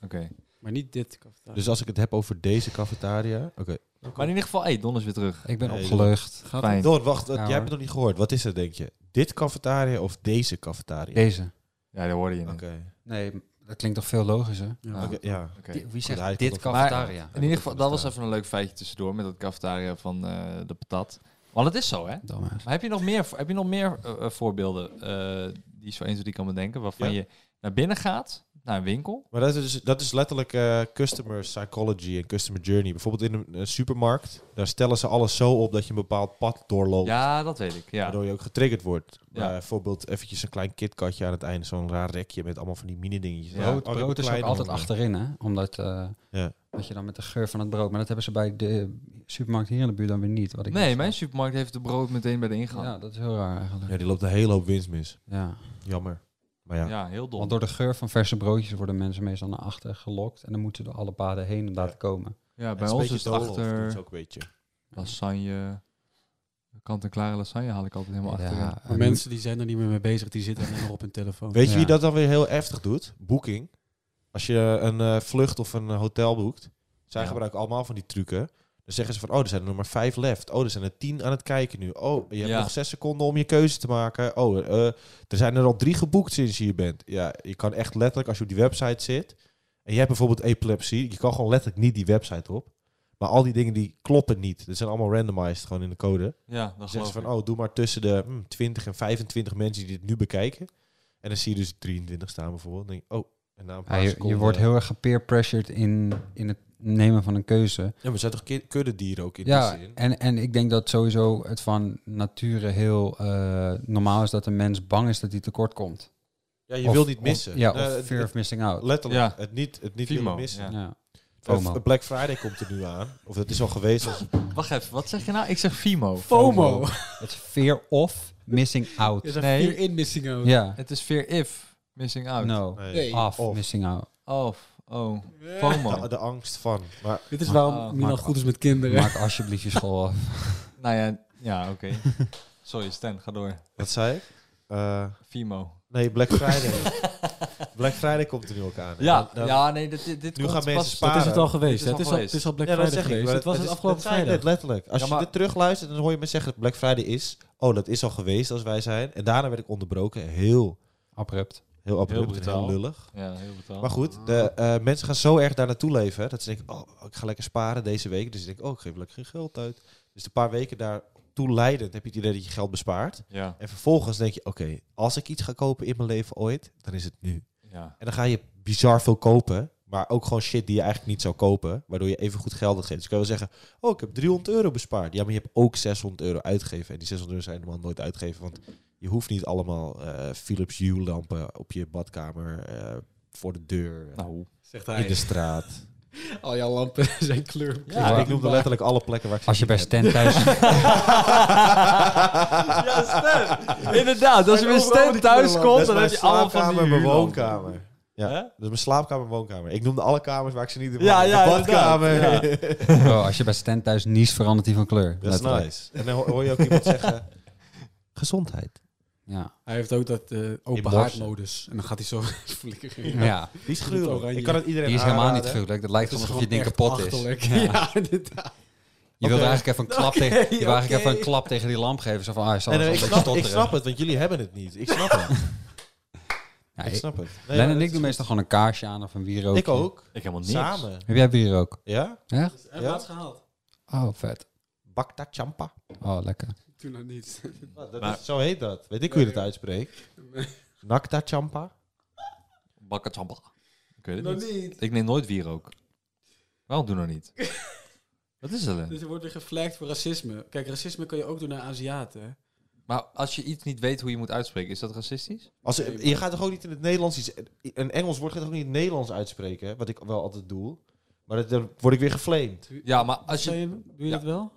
Speaker 2: Oké.
Speaker 4: Maar niet dit cafetaria.
Speaker 5: Dus als ik het heb over deze cafetaria, oké.
Speaker 2: Maar in ieder geval, hey, Don is weer terug.
Speaker 3: Ik ben
Speaker 5: Nee,
Speaker 3: opgelucht.
Speaker 4: gaat
Speaker 2: Fijn.
Speaker 5: Don, wacht, wat-
Speaker 3: Ja,
Speaker 5: jij hebt
Speaker 3: hoor.
Speaker 5: het nog niet gehoord. Wat is het, denk je? Dit cafetaria of deze cafetaria?
Speaker 3: Deze.
Speaker 2: Ja, daar hoorde je niet.
Speaker 5: Oké,
Speaker 3: Nee, dat klinkt toch veel logischer?
Speaker 2: Ah,
Speaker 5: oké, ja.
Speaker 2: oké.
Speaker 3: Di- Wie
Speaker 5: hij
Speaker 3: zegt
Speaker 5: kon
Speaker 3: dit
Speaker 5: ervan.
Speaker 3: cafetaria?
Speaker 2: In ieder geval, dat was even een leuk feitje tussendoor met dat cafetaria van eh, de patat. Want het is zo, hè?
Speaker 3: Domme.
Speaker 2: Maar heb je nog meer, heb je nog meer eh, eh, voorbeelden eh, die je zo eens die kan bedenken, waarvan
Speaker 5: Ja.
Speaker 2: je naar binnen gaat, naar een winkel,
Speaker 5: Maar dat is, dat is letterlijk eh, customer psychology en customer journey. Bijvoorbeeld in een, eh, supermarkt, daar stellen ze alles zo op dat je een bepaald pad doorloopt.
Speaker 2: Ja, dat weet ik. Ja.
Speaker 5: Waardoor je ook getriggerd wordt.
Speaker 2: Ja.
Speaker 5: Maar Bijvoorbeeld eventjes een klein kitkatje aan het einde. Zo'n raar rekje met allemaal van die mini-dingetjes.
Speaker 2: Ja.
Speaker 5: Oh,
Speaker 3: Brood,
Speaker 5: ik heb een
Speaker 3: brood is ook
Speaker 5: kleine
Speaker 3: altijd
Speaker 5: honger.
Speaker 3: achterin, hè? Omdat eh,
Speaker 5: Ja.
Speaker 3: dat je dan met de geur van het brood... Maar dat hebben ze bij de supermarkt hier in de buurt dan weer niet. Wat ik
Speaker 2: Nee,
Speaker 3: niet-
Speaker 2: mijn supermarkt heeft de brood meteen bij de ingang.
Speaker 3: Ja,
Speaker 2: Ja,
Speaker 3: dat is heel raar eigenlijk.
Speaker 5: Ja, die loopt een hele hoop winst mis.
Speaker 3: Ja.
Speaker 5: Jammer. Maar ja,
Speaker 2: heel dom.
Speaker 3: Want door de geur van verse broodjes worden mensen meestal naar achter gelokt. En dan moeten ze door alle paden heen om daar te komen.
Speaker 2: ja,
Speaker 5: Het
Speaker 2: bij
Speaker 5: een
Speaker 2: ons
Speaker 5: beetje
Speaker 2: is het
Speaker 5: doolhof,
Speaker 2: achter
Speaker 5: doet ze ook een beetje.
Speaker 2: lasagne, kant-en-klare lasagne haal ik altijd helemaal achterin.
Speaker 4: Maar mensen die zijn er niet meer mee bezig, die zitten alleen maar op hun telefoon.
Speaker 5: Weet je
Speaker 3: Ja.
Speaker 5: wie dat dan weer heel heftig doet? Booking. Als je een eh, vlucht of een eh, hotel boekt. Zij
Speaker 2: Ja.
Speaker 5: gebruiken allemaal van die trucken. Dan zeggen ze van, oh, er zijn er nog maar vijf left. Oh, er zijn er tien aan het kijken nu. Oh, je hebt
Speaker 2: Ja.
Speaker 5: nog zes seconden om je keuze te maken. Oh, eh, er zijn er al drie geboekt sinds je hier bent. Ja, je kan echt letterlijk, als je op die website zit... en je hebt bijvoorbeeld epilepsie... je kan gewoon letterlijk niet die website op. Maar al die dingen die kloppen niet. Dat zijn allemaal randomized gewoon in de code.
Speaker 2: Ja, dan
Speaker 5: Dan zeggen
Speaker 2: geloof
Speaker 5: ze
Speaker 2: ik.
Speaker 5: van, oh, doe maar tussen de hm, 20 en 25 mensen die dit nu bekijken. En dan zie je dus 23 staan bijvoorbeeld. Dan denk je, oh, en na een
Speaker 3: Ja,
Speaker 5: paar
Speaker 3: je,
Speaker 5: seconden...
Speaker 3: je wordt heel erg gepeer-pressured in, in het nemen van een keuze.
Speaker 5: Ja, maar er zijn toch ki- kuddedieren ook in
Speaker 3: Ja, eh,
Speaker 5: die zin?
Speaker 3: en, en ik denk dat sowieso het van nature heel eh, normaal is dat een mens bang is dat hij tekort komt.
Speaker 5: Ja, je
Speaker 3: Of-
Speaker 5: wil niet
Speaker 3: of-
Speaker 5: missen.
Speaker 3: ja,
Speaker 5: Nee,
Speaker 3: of
Speaker 5: het-
Speaker 3: fear of missing out.
Speaker 5: Letterlijk,
Speaker 2: Ja.
Speaker 5: het niet, het niet
Speaker 2: FOMO,
Speaker 5: willen missen.
Speaker 2: ja.
Speaker 3: Ja.
Speaker 5: Eh,
Speaker 3: FOMO.
Speaker 5: F- Black Friday komt er nu aan. Of dat is al geweest. Als,
Speaker 2: Wacht even, wat zeg je nou? Ik zeg FIMO.
Speaker 4: FOMO.
Speaker 3: Het is fear of missing out.
Speaker 4: Is er
Speaker 2: Nee.
Speaker 4: vier in missing out?
Speaker 3: Ja,
Speaker 2: Het is fear if, missing out.
Speaker 3: no.
Speaker 5: nee,
Speaker 4: Nee.
Speaker 3: Af,
Speaker 5: Of.
Speaker 3: missing out.
Speaker 2: Of, oh, FOMO.
Speaker 5: de, de angst van. Maar
Speaker 4: Dit is
Speaker 2: Ah,
Speaker 4: waarom Milan
Speaker 3: maak-
Speaker 4: goed is met kinderen.
Speaker 3: Maak alsjeblieft je school af.
Speaker 2: nou ja, ja oké. Sorry Stan, ga door.
Speaker 5: wat zei ik? Eh,
Speaker 2: FIMO.
Speaker 5: nee, Black Friday. Black Friday komt er nu ook aan.
Speaker 2: Ja,
Speaker 5: En dan-
Speaker 2: ja nee, dit, dit dit
Speaker 5: Nu
Speaker 2: komt
Speaker 5: gaan mensen
Speaker 2: pas-
Speaker 5: sparen.
Speaker 4: Dat is het al
Speaker 2: Dit
Speaker 4: geweest.
Speaker 2: is
Speaker 4: hè?
Speaker 2: al
Speaker 4: Het is al,
Speaker 2: geweest.
Speaker 4: het is al Black
Speaker 5: Ja, dat
Speaker 4: Friday
Speaker 5: zeg ik.
Speaker 4: geweest.
Speaker 5: maar
Speaker 4: het was
Speaker 5: dat
Speaker 4: het
Speaker 5: is-
Speaker 4: afgelopen
Speaker 5: dat zei ik
Speaker 4: vrijdag.
Speaker 5: net letterlijk. Als
Speaker 2: Ja,
Speaker 5: je
Speaker 2: maar-
Speaker 5: dit terugluistert, dan hoor je me zeggen... Black Friday is... Oh, dat is al geweest als wij zijn. En daarna werd ik onderbroken. Heel,
Speaker 3: Abrupt.
Speaker 5: heel abrupt en
Speaker 2: brutaal.
Speaker 5: heel lullig.
Speaker 2: Ja, heel betaald.
Speaker 5: Maar goed, de, eh, mensen gaan zo erg daar naartoe leven... hè, dat ze denken, oh, ik ga lekker sparen deze week. Dus ik denk, oh, ik geef lekker geen geld uit. Dus een paar weken daartoe leidend heb je het idee dat je geld bespaart.
Speaker 2: Ja,
Speaker 5: En vervolgens denk je, oké, als ik iets ga kopen in mijn leven ooit... dan is het nu.
Speaker 2: ja.
Speaker 5: En dan ga je bizar veel kopen. Maar ook gewoon shit die je eigenlijk niet zou kopen. Waardoor je even goed geld uitgeeft. Dus kan je wel zeggen, oh, ik heb 300 euro bespaard. Ja, maar je hebt ook 600 euro uitgegeven. En die 600 euro zijn helemaal nooit uitgegeven. Want je hoeft niet allemaal eh, Philips Hue lampen op je badkamer... eh, voor de deur, eh,
Speaker 2: Nou,
Speaker 4: Zegt
Speaker 5: in de straat.
Speaker 4: Al jouw lampen zijn kleur.
Speaker 5: Ja, ik noemde letterlijk alle plekken waar ik ze
Speaker 3: Als je
Speaker 5: gezien
Speaker 3: bij Stan thuis...
Speaker 2: ja, Stan. Inderdaad, als je weer Stan thuis
Speaker 5: heb. Dat
Speaker 2: komt,
Speaker 5: is
Speaker 2: dan heb
Speaker 5: mijn
Speaker 2: je allemaal van
Speaker 5: slaapkamer,
Speaker 2: die
Speaker 5: mijn
Speaker 2: huurlampen.
Speaker 5: woonkamer. Ja,
Speaker 2: Hè?
Speaker 5: dat is mijn slaapkamer, mijn woonkamer. Ik noemde alle kamers waar ik ze niet in
Speaker 2: Ja,
Speaker 5: had.
Speaker 2: ja,
Speaker 5: de
Speaker 2: inderdaad.
Speaker 5: badkamer.
Speaker 2: Ja.
Speaker 3: Bro, als je bij Stan thuis niest, verandert hij van kleur.
Speaker 5: Dat is
Speaker 3: Letterlijk.
Speaker 5: nice. En dan ho- hoor je ook iemand zeggen... Gezondheid.
Speaker 3: Ja.
Speaker 4: Hij heeft ook dat eh,
Speaker 5: In
Speaker 4: open
Speaker 5: borsten.
Speaker 4: haardmodus. En dan gaat hij zo flikkeren.
Speaker 3: Ja.
Speaker 5: Die is
Speaker 4: gruwelijk.
Speaker 5: gruwelijk. Ik kan het iedereen
Speaker 3: Die is helemaal niet
Speaker 5: aanraden.
Speaker 3: gruwelijk. Dat lijkt
Speaker 4: Het is
Speaker 3: alsof je
Speaker 4: gewoon
Speaker 3: ding
Speaker 4: echt
Speaker 3: kapot is.
Speaker 4: achterlijk. Ja, inderdaad.
Speaker 3: Je wilde
Speaker 5: Oké.
Speaker 3: eigenlijk even een klap, tegen, je wilde eigenlijk even een klap tegen die lamp geven. Zo van, ah, hij zal
Speaker 5: Nee, nee,
Speaker 3: wel
Speaker 5: ik,
Speaker 3: een
Speaker 5: snap,
Speaker 3: beetje
Speaker 5: ik
Speaker 3: stotteren.
Speaker 5: snap het, want jullie hebben het niet. Ik snap het.
Speaker 3: Ja,
Speaker 5: ik
Speaker 3: ik-
Speaker 5: snap het. Nee,
Speaker 3: Len
Speaker 5: maar
Speaker 3: en ik
Speaker 5: dat
Speaker 3: doen
Speaker 5: is
Speaker 3: meestal gewoon een kaarsje aan of een wierook.
Speaker 5: goed. Ik ook.
Speaker 2: Ik helemaal niks.
Speaker 5: Samen.
Speaker 3: Heb jij wierook?
Speaker 5: Ja?
Speaker 3: Ja?
Speaker 2: Dus
Speaker 4: Heb
Speaker 5: Ja?
Speaker 4: laatst gehaald?
Speaker 3: Oh, vet.
Speaker 5: Bakta champa.
Speaker 3: Oh, lekker.
Speaker 4: Toen nog niet.
Speaker 5: Wat, Ah, dat
Speaker 2: Maar-
Speaker 5: is- zo heet dat. Weet ik hoe je dat uitspreekt? Nakta champa.
Speaker 2: Bakker champa. Ik weet het
Speaker 4: Nog
Speaker 2: niet.
Speaker 4: niet.
Speaker 2: Ik neem nooit wierook. Waarom doen we dat niet? Wat is er dan?
Speaker 4: Dus er wordt weer geflagd voor racisme. Kijk, racisme kan je ook doen naar Aziaten. hè?
Speaker 2: Maar als je iets niet weet hoe je moet uitspreken, is dat racistisch?
Speaker 5: Als, je gaat toch ook niet in het Nederlands iets... Een Engels woord gaat toch ook niet in het Nederlands uitspreken? hè? Wat ik wel altijd doe. Maar dat- dan word ik weer geflamed.
Speaker 2: Ja, maar als
Speaker 4: Zou
Speaker 2: je...
Speaker 4: je, doe je dat wel?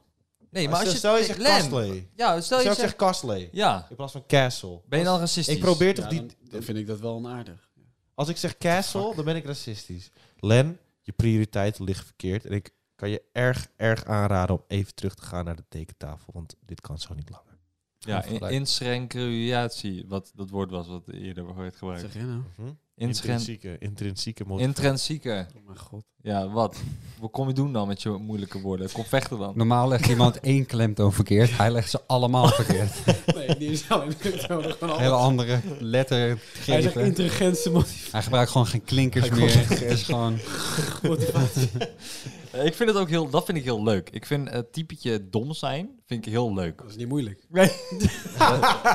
Speaker 2: Nee, maar als je...
Speaker 5: Stel je zegt
Speaker 2: Len.
Speaker 5: Castley.
Speaker 2: Ja, stel
Speaker 5: Stel
Speaker 2: je
Speaker 5: ik zeg
Speaker 2: zegt...
Speaker 5: Castley.
Speaker 2: Ja,
Speaker 5: In plaats van Castle.
Speaker 2: ben je dan racistisch?
Speaker 5: Ik probeer toch
Speaker 4: Ja,
Speaker 5: die...
Speaker 4: dan, dan vind ik dat wel onaardig.
Speaker 5: Als ik zeg castle, dan ben ik racistisch. Len, je prioriteiten liggen verkeerd. En ik kan je erg, erg aanraden om even terug te gaan naar de tekentafel. Want dit kan zo niet langer.
Speaker 2: Ja, in-
Speaker 3: Gelijk.
Speaker 2: inschencriatie, wat dat woord was wat eerder werd
Speaker 4: Wat
Speaker 2: gebruikt.
Speaker 4: zeg jij nou?
Speaker 2: Inschen...
Speaker 5: Intrinsieke, intrinsieke motivatie.
Speaker 2: Intrinsieke.
Speaker 4: Oh mijn god.
Speaker 2: Ja, wat? Wat kom je doen dan met je moeilijke woorden? Kom vechten dan.
Speaker 3: Normaal legt iemand één klemtoon verkeerd. Hij legt ze allemaal verkeerd.
Speaker 4: Nee, die is al in de nodig van
Speaker 3: Hele
Speaker 4: alles.
Speaker 3: andere lettergrepen.
Speaker 4: Hij zegt intelligente motiv-
Speaker 3: Hij gebruikt gewoon geen klinkers meer. Het is gewoon...
Speaker 4: motivatie.
Speaker 2: Eh, Ik vind het ook heel, dat vind ik heel leuk. Ik vind het typetje dom zijn, vind ik heel leuk.
Speaker 4: Dat is niet moeilijk.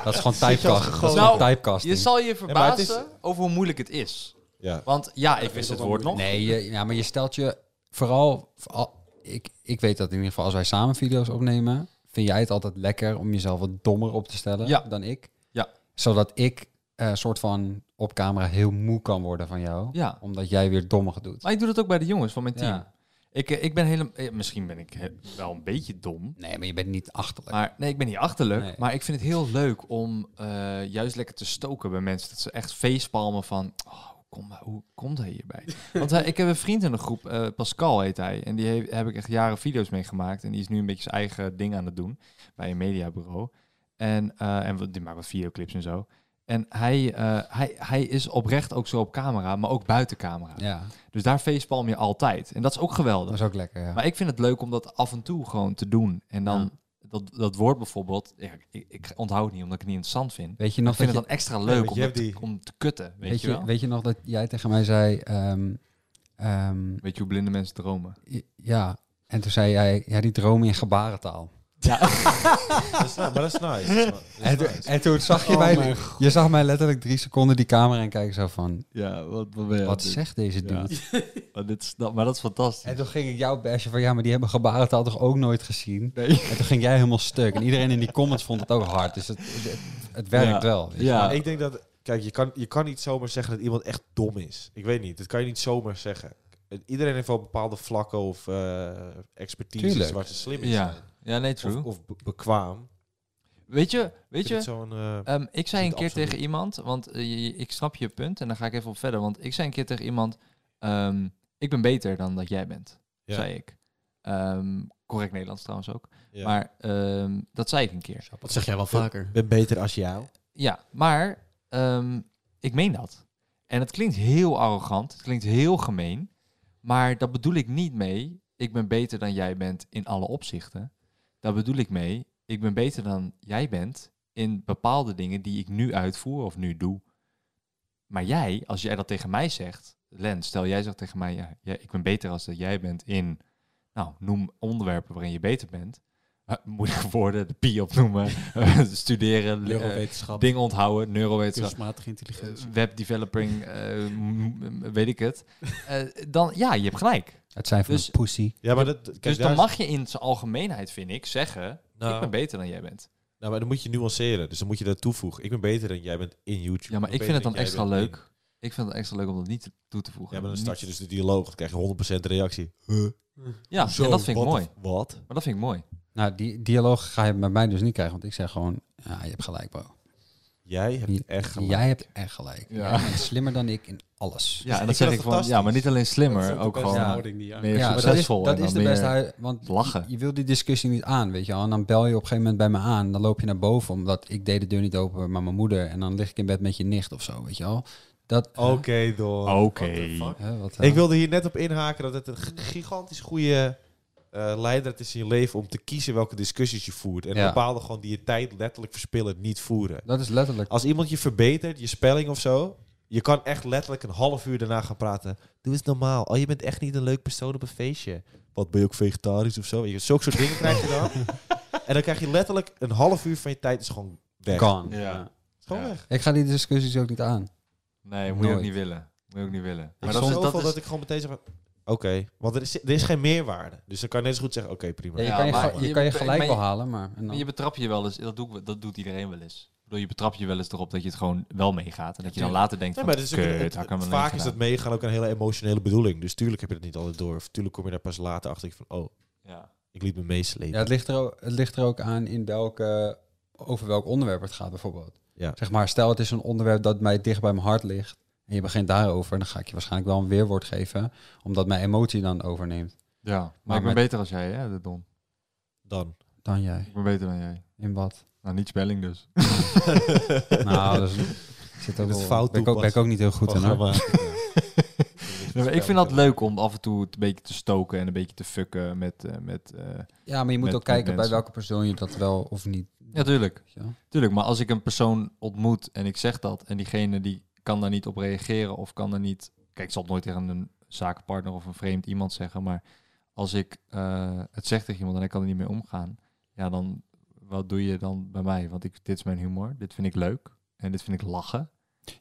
Speaker 3: Dat is gewoon typecast. Dat is
Speaker 2: Nou,
Speaker 3: gewoon typecasting.
Speaker 2: Je zal je
Speaker 5: maar het is-
Speaker 2: verbazen over hoe moeilijk het is.
Speaker 5: ja.
Speaker 2: Want ja, ik wist het woord nog.
Speaker 3: Nee, je, ja, maar je stelt je vooral... vooral- ik, ik weet dat in ieder geval als wij samen video's opnemen... vind jij het altijd lekker om jezelf wat dommer op te stellen
Speaker 2: Ja.
Speaker 3: dan ik.
Speaker 2: Ja.
Speaker 3: Zodat ik eh soort van op camera heel moe kan worden van jou.
Speaker 2: Ja.
Speaker 3: Omdat jij weer dommig doet.
Speaker 2: Maar ik doe dat ook bij de jongens van mijn team.
Speaker 3: Ja.
Speaker 2: Ik, eh, ik ben helemaal... Misschien ben ik eh, wel een beetje dom.
Speaker 3: Nee, maar je bent niet achterlijk.
Speaker 2: Maar nee, ik ben niet achterlijk.
Speaker 3: Nee.
Speaker 2: Maar ik vind het heel leuk om eh, juist lekker te stoken bij mensen. Dat ze echt feestpalmen van. Oh, hoe kom, hoe komt hij hierbij? Want hij- ik heb een vriend in de groep, eh, Pascal heet hij. En die heeft, heb ik echt jaren video's mee gemaakt. En die is nu een beetje zijn eigen ding aan het doen bij een mediabureau. En, eh, en wat- die maakt wat videoclips en zo. En hij, eh, hij, hij is oprecht ook zo op camera, maar ook buiten camera.
Speaker 3: ja,
Speaker 2: Dus daar feestpalm je altijd. En dat is ook geweldig.
Speaker 3: dat is ook lekker, ja.
Speaker 2: Maar ik vind het leuk om dat af en toe gewoon te doen. En dan dat, dat woord bijvoorbeeld. Ja, ik, ik onthoud het niet omdat ik het niet interessant vind.
Speaker 3: Weet je
Speaker 2: Ik
Speaker 3: nog
Speaker 2: vind
Speaker 3: dat
Speaker 2: het
Speaker 3: je,
Speaker 2: dan extra
Speaker 5: Ja,
Speaker 2: leuk
Speaker 5: want
Speaker 2: om,
Speaker 5: je
Speaker 2: dat
Speaker 5: hebt
Speaker 2: te,
Speaker 5: die-
Speaker 2: om te kutten. Weet,
Speaker 3: weet,
Speaker 2: je
Speaker 3: je,
Speaker 2: wel? Weet,
Speaker 3: weet je nog dat jij tegen mij zei... ehm, ehm,
Speaker 2: je hoe blinde mensen dromen?
Speaker 3: i- ja, en toen zei jij... Ja, die dromen in gebarentaal.
Speaker 5: Dat is, nou- maar dat is nice. Dat is
Speaker 3: En, toen-
Speaker 5: nice.
Speaker 3: en toen zag je
Speaker 4: Oh
Speaker 3: mij...
Speaker 4: mijn
Speaker 3: Je zag mij letterlijk drie seconden die camera en kijken zo van...
Speaker 2: Ja, wat,
Speaker 3: Wat zegt deze dude?
Speaker 2: Maar, dit is, dat- maar dat is fantastisch.
Speaker 3: En toen ging ik jou bashen van... Ja, maar die hebben gebarentaal toch ook nooit gezien?
Speaker 2: Nee.
Speaker 3: En toen ging jij helemaal stuk. En iedereen in die comments vond het ook hard. Dus het, het, het werkt
Speaker 2: Ja.
Speaker 3: wel. weet je.
Speaker 2: Ja.
Speaker 5: Ik denk dat... Kijk, je kan, je kan niet zomaar zeggen dat iemand echt dom is. Ik weet niet. Dat kan je niet zomaar zeggen. Iedereen heeft wel bepaalde vlakken of eh expertise
Speaker 3: Tuurlijk.
Speaker 5: waar ze slim in
Speaker 2: Ja. ja, nee,
Speaker 5: zijn.
Speaker 2: true.
Speaker 5: Of, of be- bekwaam.
Speaker 2: weet je, weet
Speaker 5: Weet
Speaker 2: je
Speaker 5: je? Zo'n, eh,
Speaker 2: Ehm, ik zei
Speaker 5: Niet
Speaker 2: een keer
Speaker 5: absoluut.
Speaker 2: tegen iemand, want eh, je- je- ik snap je punt en dan ga ik even op verder. Want ik zei een keer tegen iemand, ehm, ik ben beter dan dat jij bent,
Speaker 5: Ja.
Speaker 2: zei ik. Ehm, correct Nederlands trouwens ook.
Speaker 5: ja.
Speaker 2: Maar ehm, dat zei ik een keer.
Speaker 4: Wat zeg jij wel vaker?
Speaker 5: Ik ben beter als jou.
Speaker 2: Ja, maar ehm, ik meen dat. En het klinkt heel arrogant, het klinkt heel gemeen. Maar dat bedoel ik niet mee, ik ben beter dan jij bent in alle opzichten. Daar bedoel ik mee, ik ben beter dan jij bent in bepaalde dingen die ik nu uitvoer of nu doe. Maar jij, als jij dat tegen mij zegt, Len, stel jij zegt tegen mij, ja, ja, ik ben beter als dat jij bent in, nou, noem onderwerpen waarin je beter bent. Eh, moeilijke woorden, de pi opnoemen, eh, studeren, le- eh,
Speaker 4: Neurowetenschap,
Speaker 2: dingen onthouden, neurowetenschap,
Speaker 4: kunstmatige
Speaker 2: eh,
Speaker 4: intelligentie.
Speaker 2: webdeveloping, eh, m- m- weet ik het. Eh, dan, ja, je hebt gelijk.
Speaker 3: Het zijn van
Speaker 2: Dus-
Speaker 3: een pussy.
Speaker 5: Ja, maar dat, kijk,
Speaker 2: dus
Speaker 5: daar
Speaker 2: dan
Speaker 5: is-
Speaker 2: mag je in zijn algemeenheid, vind ik, zeggen, ik ben beter dan jij bent.
Speaker 5: Nou, maar dan moet je nuanceren. Dus dan moet je dat toevoegen. Ik ben beter dan jij bent in YouTube.
Speaker 2: Ja, maar ik
Speaker 5: ben
Speaker 2: vind het
Speaker 5: beter
Speaker 2: dan extra
Speaker 5: jij bent
Speaker 2: leuk. Ik vind het extra leuk om dat niet toe te
Speaker 5: in-
Speaker 2: voegen.
Speaker 5: Ja, maar dan start je
Speaker 2: Niet-
Speaker 5: dus de dialoog. Dan krijg je 100% reactie. Huh?
Speaker 2: Ja,
Speaker 5: Hoezo?
Speaker 2: en dat vind ik
Speaker 5: Wat-
Speaker 2: mooi.
Speaker 5: Wat?
Speaker 2: Maar dat vind ik mooi.
Speaker 3: Nou, die dialoog ga je met mij dus niet krijgen. Want ik zeg gewoon... Ja, je hebt gelijk, bro.
Speaker 5: Jij hebt
Speaker 3: Je-
Speaker 5: echt gelijk.
Speaker 3: Jij hebt echt gelijk.
Speaker 2: Ja.
Speaker 3: Jij bent slimmer dan ik in alles.
Speaker 2: Ja, en
Speaker 5: ik
Speaker 2: dat
Speaker 5: vind
Speaker 2: zeg
Speaker 5: dat
Speaker 2: ik van, ja, maar
Speaker 5: fantastisch.
Speaker 2: niet alleen
Speaker 4: Dat
Speaker 2: slimmer,
Speaker 4: is ook
Speaker 2: ook
Speaker 4: de beste
Speaker 2: gewoon
Speaker 4: houding die je aan-
Speaker 2: meer
Speaker 3: Ja, maar dat is,
Speaker 2: succesvol.
Speaker 3: dat
Speaker 2: en
Speaker 3: is de
Speaker 2: dan
Speaker 3: beste
Speaker 2: meer-
Speaker 3: hui- Want
Speaker 2: lachen.
Speaker 3: Je, je wil die discussie niet aan, weet je wel. En dan bel je op een gegeven moment bij me aan. Dan loop je naar boven, omdat ik deed de deur niet open, maar mijn moeder. En dan lig ik in bed met je nicht of zo, weet je wel. Dat...
Speaker 5: Oké, door.
Speaker 2: Oké.
Speaker 4: What the fuck?
Speaker 3: Hè, wat, eh,
Speaker 5: Ik wilde hier net op inhaken dat het een g- gigantisch goede eh, leider het is in je leven om te kiezen welke discussies je voert. En
Speaker 3: Ja.
Speaker 5: bepalen gewoon die je tijd letterlijk verspillen, niet voeren.
Speaker 3: Dat is letterlijk.
Speaker 5: Als iemand je verbetert, je spelling of zo, je kan echt letterlijk een half uur daarna gaan praten. Doe eens normaal. Oh, je bent echt niet een leuk persoon op een feestje. Wat ben je ook vegetarisch of zo? Weet je, Zulke soort dingen krijg je dan. en dan krijg je letterlijk een half uur van je tijd is gewoon weg.
Speaker 3: Gone.
Speaker 2: Ja.
Speaker 5: Is gewoon
Speaker 2: Ja.
Speaker 5: weg.
Speaker 3: Ik ga die discussies ook niet aan.
Speaker 2: Nee, moet je ook
Speaker 3: Nooit.
Speaker 2: niet willen. Moet je ook niet willen.
Speaker 5: Maar
Speaker 2: Maar
Speaker 5: dat
Speaker 2: dat
Speaker 5: is
Speaker 2: is,
Speaker 5: zoveel
Speaker 2: dat
Speaker 5: dat,
Speaker 2: is,
Speaker 5: ik gewoon meteen zeg van, oké, want er is, er is geen meerwaarde. Dus dan kan je net zo goed zeggen, oké, prima.
Speaker 3: Ja, je,
Speaker 2: Ja,
Speaker 3: kan je,
Speaker 2: maar
Speaker 3: ge- je
Speaker 2: je
Speaker 3: kan je
Speaker 2: bent-
Speaker 3: gelijk
Speaker 2: maar
Speaker 3: wel
Speaker 2: je-
Speaker 3: halen, maar... en dan-
Speaker 2: je betrap je wel eens, dat, doe, ik- dat doet iedereen wel eens. Ik bedoel, je betrapt je wel eens erop dat je het gewoon wel meegaat. En dat je dan later denkt van,
Speaker 5: Nee, maar dat is ook-
Speaker 2: kut,
Speaker 5: het-
Speaker 2: had ik
Speaker 5: het-
Speaker 2: hem alleen
Speaker 5: vaak is dat
Speaker 2: gedaan.
Speaker 5: meegaan ook een hele emotionele bedoeling. Dus tuurlijk heb je dat niet altijd door. Of tuurlijk kom je daar pas later achter van, oh,
Speaker 2: Ja.
Speaker 5: ik liet me meeslepen.
Speaker 3: Ja, het ligt, er ook, het ligt er ook aan in welke, over welk onderwerp het gaat bijvoorbeeld.
Speaker 5: Ja.
Speaker 3: Zeg maar, stel het is een onderwerp dat mij dicht bij mijn hart ligt en je begint daarover, dan ga ik je waarschijnlijk wel een weerwoord geven, omdat mijn emotie dan overneemt.
Speaker 2: ja, maar,
Speaker 3: Maar
Speaker 2: ik ben
Speaker 3: met-
Speaker 2: beter als jij, hè, Don.
Speaker 5: Dan.
Speaker 3: Dan jij.
Speaker 2: Ik ben beter dan jij.
Speaker 3: In wat?
Speaker 2: Nou, niet spelling dus.
Speaker 3: Nou, dat is, zit ook
Speaker 5: het
Speaker 3: wel-
Speaker 5: fout
Speaker 3: ben ik ook, ben ik ook niet heel goed in. hoor.
Speaker 2: Nee, maar ik vind dat leuk om af en toe het een beetje te stoken en een beetje te fucken met... eh, met eh,
Speaker 3: Ja, maar je moet
Speaker 2: Met-
Speaker 3: ook
Speaker 2: met
Speaker 3: kijken bij
Speaker 2: mensen.
Speaker 3: welke persoon je dat wel of niet.
Speaker 2: Ja, tuurlijk.
Speaker 3: weet je wel.
Speaker 2: Tuurlijk, maar als ik een persoon ontmoet en ik zeg dat en diegene die kan daar niet op reageren of kan daar niet... Kijk, ik zal het nooit tegen een zakenpartner of een vreemd iemand zeggen, maar als ik eh, het zeg tegen iemand en ik kan er niet mee omgaan, ja, dan wat doe je dan bij mij? Want ik, dit is mijn humor, dit vind ik leuk en dit vind ik lachen.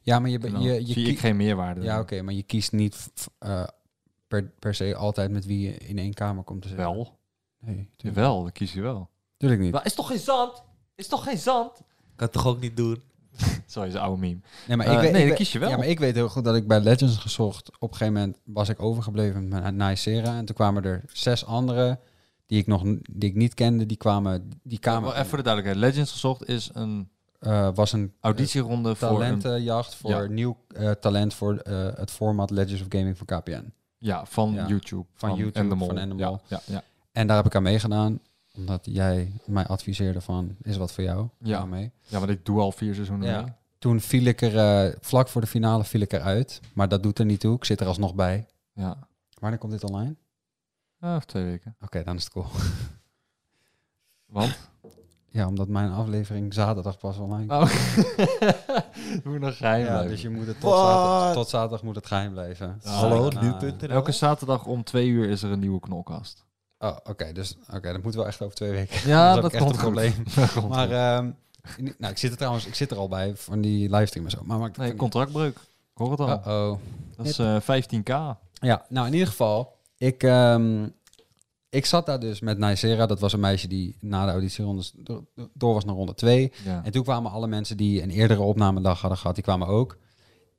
Speaker 3: Ja, maar je,
Speaker 2: En
Speaker 3: ben-
Speaker 2: dan
Speaker 3: je, je,
Speaker 2: zie
Speaker 3: kie-
Speaker 2: ik geen meerwaarde.
Speaker 3: ja, oké, maar je kiest niet f- eh, per, per se altijd met wie je in één kamer komt te zitten.
Speaker 2: Wel,
Speaker 3: Nee, tuurlijk,
Speaker 2: jawel, dan kies je wel.
Speaker 3: tuurlijk niet.
Speaker 2: Maar is toch geen zand? Is toch geen zand?
Speaker 5: Kan toch ook niet doen?
Speaker 2: Sorry, zo'n oude meme.
Speaker 3: Nee, maar
Speaker 2: Eh,
Speaker 3: ik weet,
Speaker 2: nee,
Speaker 3: ik
Speaker 2: dat
Speaker 3: weet-
Speaker 2: kies je wel.
Speaker 3: Ja, maar ik weet heel goed dat ik bij Legends gezocht. Op een gegeven moment was ik overgebleven met mijn Nicera. En toen kwamen er zes anderen die ik nog n- die ik niet kende. Die kwamen die kamer.
Speaker 2: Wel even voor de duidelijkheid, Legends gezocht is een
Speaker 3: eh, was een
Speaker 2: auditieronde voor een
Speaker 3: talentenjacht voor
Speaker 2: Ja.
Speaker 3: nieuw eh, talent voor eh, het format Legends of Gaming van KPN.
Speaker 2: Ja, van
Speaker 3: Ja,
Speaker 2: YouTube.
Speaker 3: van YouTube,
Speaker 2: En de Mol.
Speaker 3: van En de Mol.
Speaker 2: Ja, ja, ja.
Speaker 3: En daar heb ik aan meegedaan omdat jij mij adviseerde van is wat voor jou
Speaker 2: Ja.
Speaker 3: Ga mee.
Speaker 2: ja, want ik doe al vier seizoenen
Speaker 3: Ja.
Speaker 2: mee.
Speaker 3: Toen viel ik er eh, vlak voor de finale viel ik eruit, maar dat doet er niet toe. Ik zit er alsnog bij.
Speaker 2: Ja.
Speaker 3: Wanneer komt dit online? Oké,
Speaker 2: Ah, of twee weken.
Speaker 3: dan is het cool.
Speaker 2: Want?
Speaker 3: Ja, omdat mijn aflevering zaterdag pas online
Speaker 2: Oh. Moet nog geheim
Speaker 3: Ja,
Speaker 2: blijven.
Speaker 3: dus je moet het tot
Speaker 5: What?
Speaker 3: zaterdag, tot zaterdag moet het geheim blijven.
Speaker 2: Ah.
Speaker 5: Hallo,
Speaker 3: Nou,
Speaker 5: nu.nl.
Speaker 2: Elke zaterdag om twee uur is er een nieuwe knolkast.
Speaker 3: Oh, oké, dus oké, dat moet wel echt over twee weken.
Speaker 2: Ja,
Speaker 3: heb
Speaker 2: dat,
Speaker 3: ik echt
Speaker 2: komt
Speaker 3: een
Speaker 2: goed.
Speaker 3: probleem.
Speaker 2: Dat komt
Speaker 3: Maar
Speaker 2: goed.
Speaker 3: ehm, in- nou, ik zit er trouwens, ik zit er al bij van die livestream en zo. Maar maakt
Speaker 2: nee, contractbreuk. Ik hoor het al.
Speaker 3: oh.
Speaker 2: dat is eh, 15k.
Speaker 3: Ja, nou in ieder geval, ik, ehm, ik zat daar dus met Nicera. Dat was een meisje die na de auditieronde door, door was naar ronde twee.
Speaker 2: Ja.
Speaker 3: En toen kwamen alle mensen die een eerdere opnamedag hadden gehad, die kwamen ook.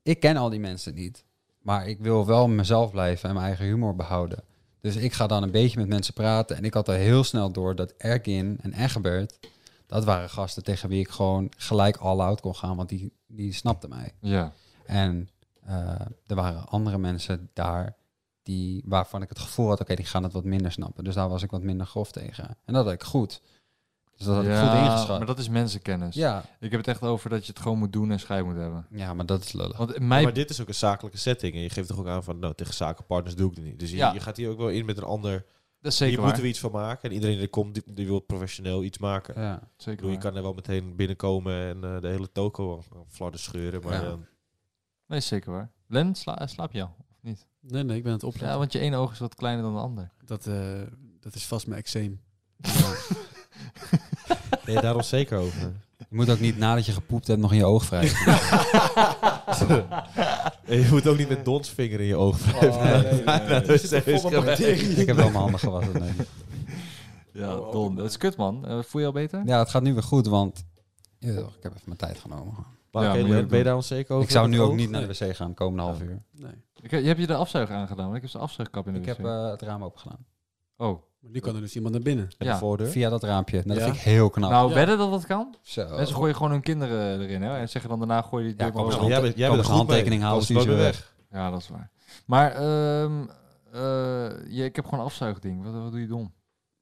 Speaker 3: Ik ken al die mensen niet, maar ik wil wel mezelf blijven en mijn eigen humor behouden. Dus ik ga dan een beetje met mensen praten. En ik had al heel snel door dat Erkin en Egbert, dat waren gasten tegen wie ik gewoon gelijk all out kon gaan, want die, die snapten mij.
Speaker 2: ja.
Speaker 3: En eh, er waren andere mensen daar die, waarvan ik het gevoel had, oké, die gaan het wat minder snappen. Dus daar was ik wat minder grof tegen. En dat had ik goed. Dus dat had ik goed
Speaker 2: Ja,
Speaker 3: ingeschat.
Speaker 2: maar dat is mensenkennis.
Speaker 3: Ja,
Speaker 2: Ik heb het echt over dat je het gewoon moet doen en scheid moet hebben.
Speaker 3: ja, maar dat is lullig.
Speaker 2: Want mij...
Speaker 5: Maar dit is ook een zakelijke setting. En je geeft toch ook aan van, nou, tegen zakenpartners doe ik het niet. Dus je,
Speaker 2: Ja.
Speaker 5: je gaat hier ook wel in met een ander.
Speaker 2: dat is zeker
Speaker 5: hier moeten
Speaker 2: waar.
Speaker 5: we iets van maken. En iedereen die komt, die, die wil professioneel iets maken. Ik
Speaker 3: Ja.
Speaker 2: Zeker
Speaker 5: bedoel, je
Speaker 2: waar.
Speaker 5: kan er wel meteen binnenkomen en eh, de hele toko aan- aan flarden scheuren. Maar
Speaker 3: Ja.
Speaker 5: dan-
Speaker 2: Nee, zeker waar. Len, sla- slaap je al? Of niet?
Speaker 4: Nee, nee, ik ben aan het opletten.
Speaker 2: Ja, want je ene oog is wat kleiner dan de ander.
Speaker 4: dat, eh, dat is vast mijn eczeem.
Speaker 5: ben je daar ons zeker over?
Speaker 3: Je moet ook niet nadat je gepoept hebt nog in je oog wrijven.
Speaker 5: en je moet ook niet met Dons vinger in je oog
Speaker 3: Oh,
Speaker 5: wrijven. Nou, dat is
Speaker 3: ik heb wel mijn handen gewassen. nee.
Speaker 2: Ja, Don, dat is kut man. Eh, voel je al beter?
Speaker 3: Oh, Ja, het gaat nu weer goed, want ja, toch, ik heb even mijn tijd genomen.
Speaker 5: Maar
Speaker 2: Ja,
Speaker 5: oké,
Speaker 2: moet je
Speaker 5: Len,
Speaker 2: ook
Speaker 5: ben je daar ons zeker over?
Speaker 3: Ik zou
Speaker 5: met
Speaker 3: nu
Speaker 5: het
Speaker 3: ook
Speaker 5: oog?
Speaker 3: niet naar de wc gaan, komende half uur.
Speaker 4: Nee.
Speaker 2: Ik, heb- heb je de afzuig aangedaan? Want ik heb de afzuigkap in de
Speaker 3: Ik heb
Speaker 2: wc.
Speaker 3: eh, het raam open gedaan.
Speaker 2: oh,
Speaker 4: Maar nu kan er dus iemand naar binnen.
Speaker 5: En
Speaker 2: Ja.
Speaker 5: de voordeur?
Speaker 3: Via dat raampje. Nou, Dat
Speaker 4: Ja?
Speaker 3: vind ik heel knap.
Speaker 2: nou
Speaker 4: ja.
Speaker 2: wedden dat dat kan?
Speaker 3: Zo.
Speaker 2: Mensen gooien gewoon hun kinderen eh, erin hè? en zeggen dan daarna gooi je die
Speaker 3: Ja,
Speaker 2: deur maar
Speaker 3: kom
Speaker 2: weer
Speaker 3: eens
Speaker 5: Ja,
Speaker 2: open.
Speaker 5: maar jij bent, jij
Speaker 3: Komen
Speaker 5: bent
Speaker 3: ze
Speaker 5: goed
Speaker 3: handtekening
Speaker 5: mee.
Speaker 3: halen,
Speaker 5: Anders
Speaker 3: stuur ze
Speaker 5: lopen we
Speaker 2: Ja, dat is waar. Maar ehm, eh, je, ik heb gewoon een afzuigding. Wat, wat doe je dom?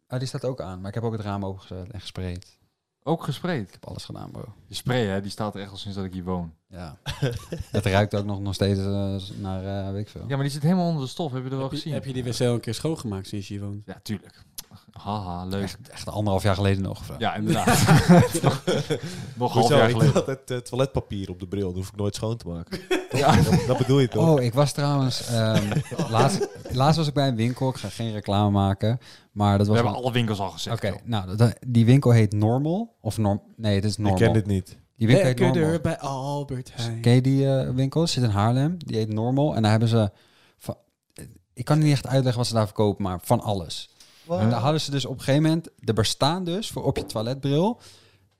Speaker 3: Ah, die staat ook aan, maar ik heb ook het raam opengezet en gespreid.
Speaker 2: Ook gespreid.
Speaker 3: Ik heb alles gedaan, bro.
Speaker 2: De spray, hè, die staat er echt al sinds dat ik hier woon.
Speaker 3: Ja. het ruikt ook nog, nog steeds eh, naar, eh, weet ik veel.
Speaker 2: Ja, maar die zit helemaal onder de stof. Heb je er wel
Speaker 4: Heb je,
Speaker 2: gezien?
Speaker 4: heb je die wc al een keer schoongemaakt sinds je hier woont?
Speaker 2: Ja, tuurlijk. Haha, leuk.
Speaker 3: Echt, echt anderhalf jaar geleden nog. of zo.
Speaker 2: Ja, inderdaad. Nog half
Speaker 5: Hoezo?
Speaker 2: jaar
Speaker 5: Ik doe
Speaker 2: geleden.
Speaker 5: altijd eh, toiletpapier op de bril. Dan hoef ik nooit schoon te maken.
Speaker 2: Ja.
Speaker 5: Dat, dat bedoel je toch?
Speaker 3: Oh, ik was trouwens... ehm, laatst, laatst was ik bij een winkel. Ik ga geen reclame maken. Maar dat
Speaker 2: We
Speaker 3: was...
Speaker 2: hebben
Speaker 3: een-
Speaker 2: alle winkels al gezegd.
Speaker 3: Oké,
Speaker 2: joh.
Speaker 3: nou, dat- dat- die winkel heet Normal. Of Norm... Nee, het is
Speaker 5: ik
Speaker 3: Normal.
Speaker 5: ken dit niet.
Speaker 3: Die winkel heet
Speaker 4: Lekkerder
Speaker 3: Normal.
Speaker 4: bij Albert Heijn.
Speaker 3: Ken je die eh, winkel? Zit in Haarlem. Die heet Normal. En daar hebben ze... van- Ik kan niet echt uitleggen wat ze daar verkopen, maar van alles. En daar hadden ze dus op een gegeven moment... Er bestaan dus voor op je toiletbril...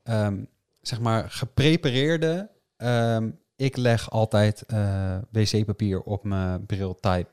Speaker 3: ehm, zeg maar geprepareerde... ehm, ik leg altijd eh, wc-papier op mijn bril-type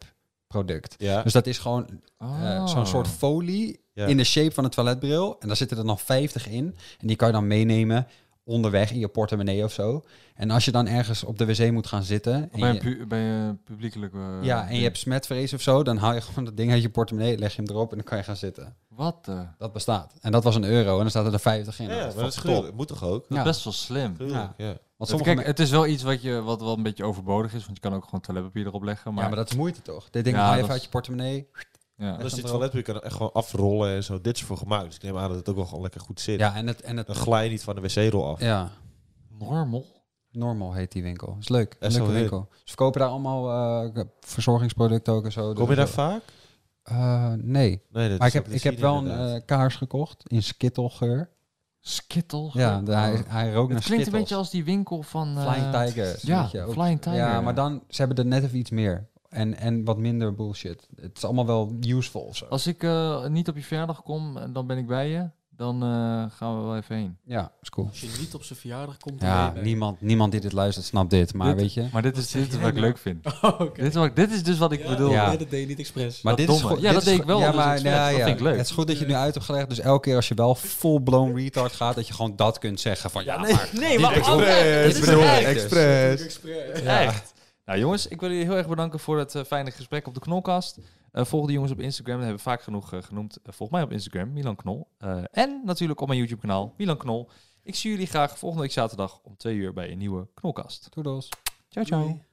Speaker 3: product.
Speaker 5: Ja.
Speaker 3: Dus dat is gewoon eh,
Speaker 2: Ah.
Speaker 3: zo'n soort folie
Speaker 5: Ja.
Speaker 3: in de shape van een toiletbril. En daar zitten er nog 50 in. En die kan je dan meenemen onderweg in je portemonnee of zo. En als je dan ergens op de wc moet gaan zitten...
Speaker 2: Bij
Speaker 3: En
Speaker 2: een,
Speaker 3: je,
Speaker 2: pu- bij een publiekelijke... eh,
Speaker 3: ja, en je hebt smetvrees of zo, dan haal je gewoon dat ding uit je portemonnee, leg je hem erop en dan kan je gaan zitten.
Speaker 2: Wat? eh?
Speaker 3: Dat bestaat. En dat was een euro en dan staat er 50 in.
Speaker 5: Ja, maar dat is
Speaker 3: fucking top.
Speaker 5: gruwelijk. Moet toch
Speaker 2: Dat
Speaker 5: ook?
Speaker 3: Ja.
Speaker 2: is best wel slim.
Speaker 5: Gruwelijk, ja.
Speaker 3: Want
Speaker 2: Want
Speaker 3: sommige
Speaker 2: Kijk, het is wel iets wat, je, wat wel een beetje overbodig is, want je kan ook gewoon toiletpapier erop leggen.
Speaker 3: me-
Speaker 2: Maar,
Speaker 3: Ja, maar dat is moeite toch? Dit ding
Speaker 2: Ja,
Speaker 3: haal je
Speaker 2: dat
Speaker 3: even
Speaker 2: is-
Speaker 3: uit je portemonnee.
Speaker 2: ja.
Speaker 5: Dus die
Speaker 3: erop.
Speaker 5: toiletpapier kan echt gewoon afrollen en zo. Dit is voor gemaakt. Dus ik neem aan dat het ook wel gewoon lekker goed zit.
Speaker 3: Ja, en het... En
Speaker 5: Dan
Speaker 3: het
Speaker 5: glij je niet van de wc-rol af.
Speaker 3: ja,
Speaker 2: normal.
Speaker 3: Normal heet die winkel. Is leuk. Een
Speaker 5: Echt wel
Speaker 3: leuke
Speaker 5: leuk.
Speaker 3: winkel. Ze verkopen daar allemaal eh, verzorgingsproducten ook en zo.
Speaker 5: Kom
Speaker 3: Dus,
Speaker 5: je daar
Speaker 3: eh,
Speaker 5: vaak?
Speaker 3: Eh, nee.
Speaker 5: Nee, dat
Speaker 3: Maar ik
Speaker 5: is-
Speaker 3: heb,
Speaker 5: dat
Speaker 3: ik
Speaker 5: zie
Speaker 3: heb
Speaker 5: je
Speaker 3: wel een
Speaker 5: inderdaad.
Speaker 3: eh, kaars gekocht in skittelgeur.
Speaker 2: Skittle. eh,
Speaker 3: Ja, de- hij, hij rookt naar
Speaker 2: Het klinkt een
Speaker 3: Skittles.
Speaker 2: beetje als die winkel van... eh,
Speaker 3: Flying Tigers.
Speaker 2: ja,
Speaker 3: weet je, ook.
Speaker 2: Flying Tiger.
Speaker 3: Ja, maar dan, ze hebben er net even iets meer. En, en wat minder bullshit. Het is allemaal wel useful of zo.
Speaker 2: Als ik eh, niet op je verjaardag kom en dan ben ik bij je, dan eh, gaan we wel even heen.
Speaker 3: Ja, is cool.
Speaker 4: Als je niet op zijn verjaardag komt, dan
Speaker 3: Ja,
Speaker 4: ben je bij.
Speaker 3: niemand, niemand die dit luistert snapt dit, maar
Speaker 2: Dit-
Speaker 3: weet je.
Speaker 2: Maar dit is, dit is wat ik leuk vind.
Speaker 4: Oh, oké.
Speaker 2: Dit, is wat, dit is dus wat ik
Speaker 4: Ja,
Speaker 2: bedoel.
Speaker 3: Ja.
Speaker 4: nee, dat deed je niet expres.
Speaker 3: Maar
Speaker 2: dat
Speaker 3: dit is
Speaker 2: domme.
Speaker 3: goed.
Speaker 2: Ja,
Speaker 3: dit
Speaker 2: dat
Speaker 3: is
Speaker 2: deed ik
Speaker 3: goed-
Speaker 2: wel,
Speaker 3: Ja,
Speaker 2: dus
Speaker 3: maar,
Speaker 2: het is vet.
Speaker 3: nou,
Speaker 2: Dat
Speaker 3: ja,
Speaker 2: vind ik leuk.
Speaker 3: Het is goed dat je nu uit hebt gelegd. Dus elke keer als je wel full-blown retard gaat, dat je gewoon dat kunt zeggen. Van, ja, maar
Speaker 2: Nee, maar altijd. Dit is
Speaker 3: eh,
Speaker 2: echt.
Speaker 5: Express.
Speaker 2: Echt. Nou jongens, ik wil jullie heel erg bedanken voor het eh, fijne gesprek op de Knolkast. Eh volg de jongens op Instagram, dat hebben we vaak genoeg eh, genoemd. Eh, volg mij op Instagram, Milan Knol. Eh, en natuurlijk op mijn YouTube kanaal, Milan Knol. Ik zie jullie graag volgende week zaterdag om twee uur bij een nieuwe Knolkast.
Speaker 3: Toedels.
Speaker 2: Ciao, ciao.
Speaker 4: Doei.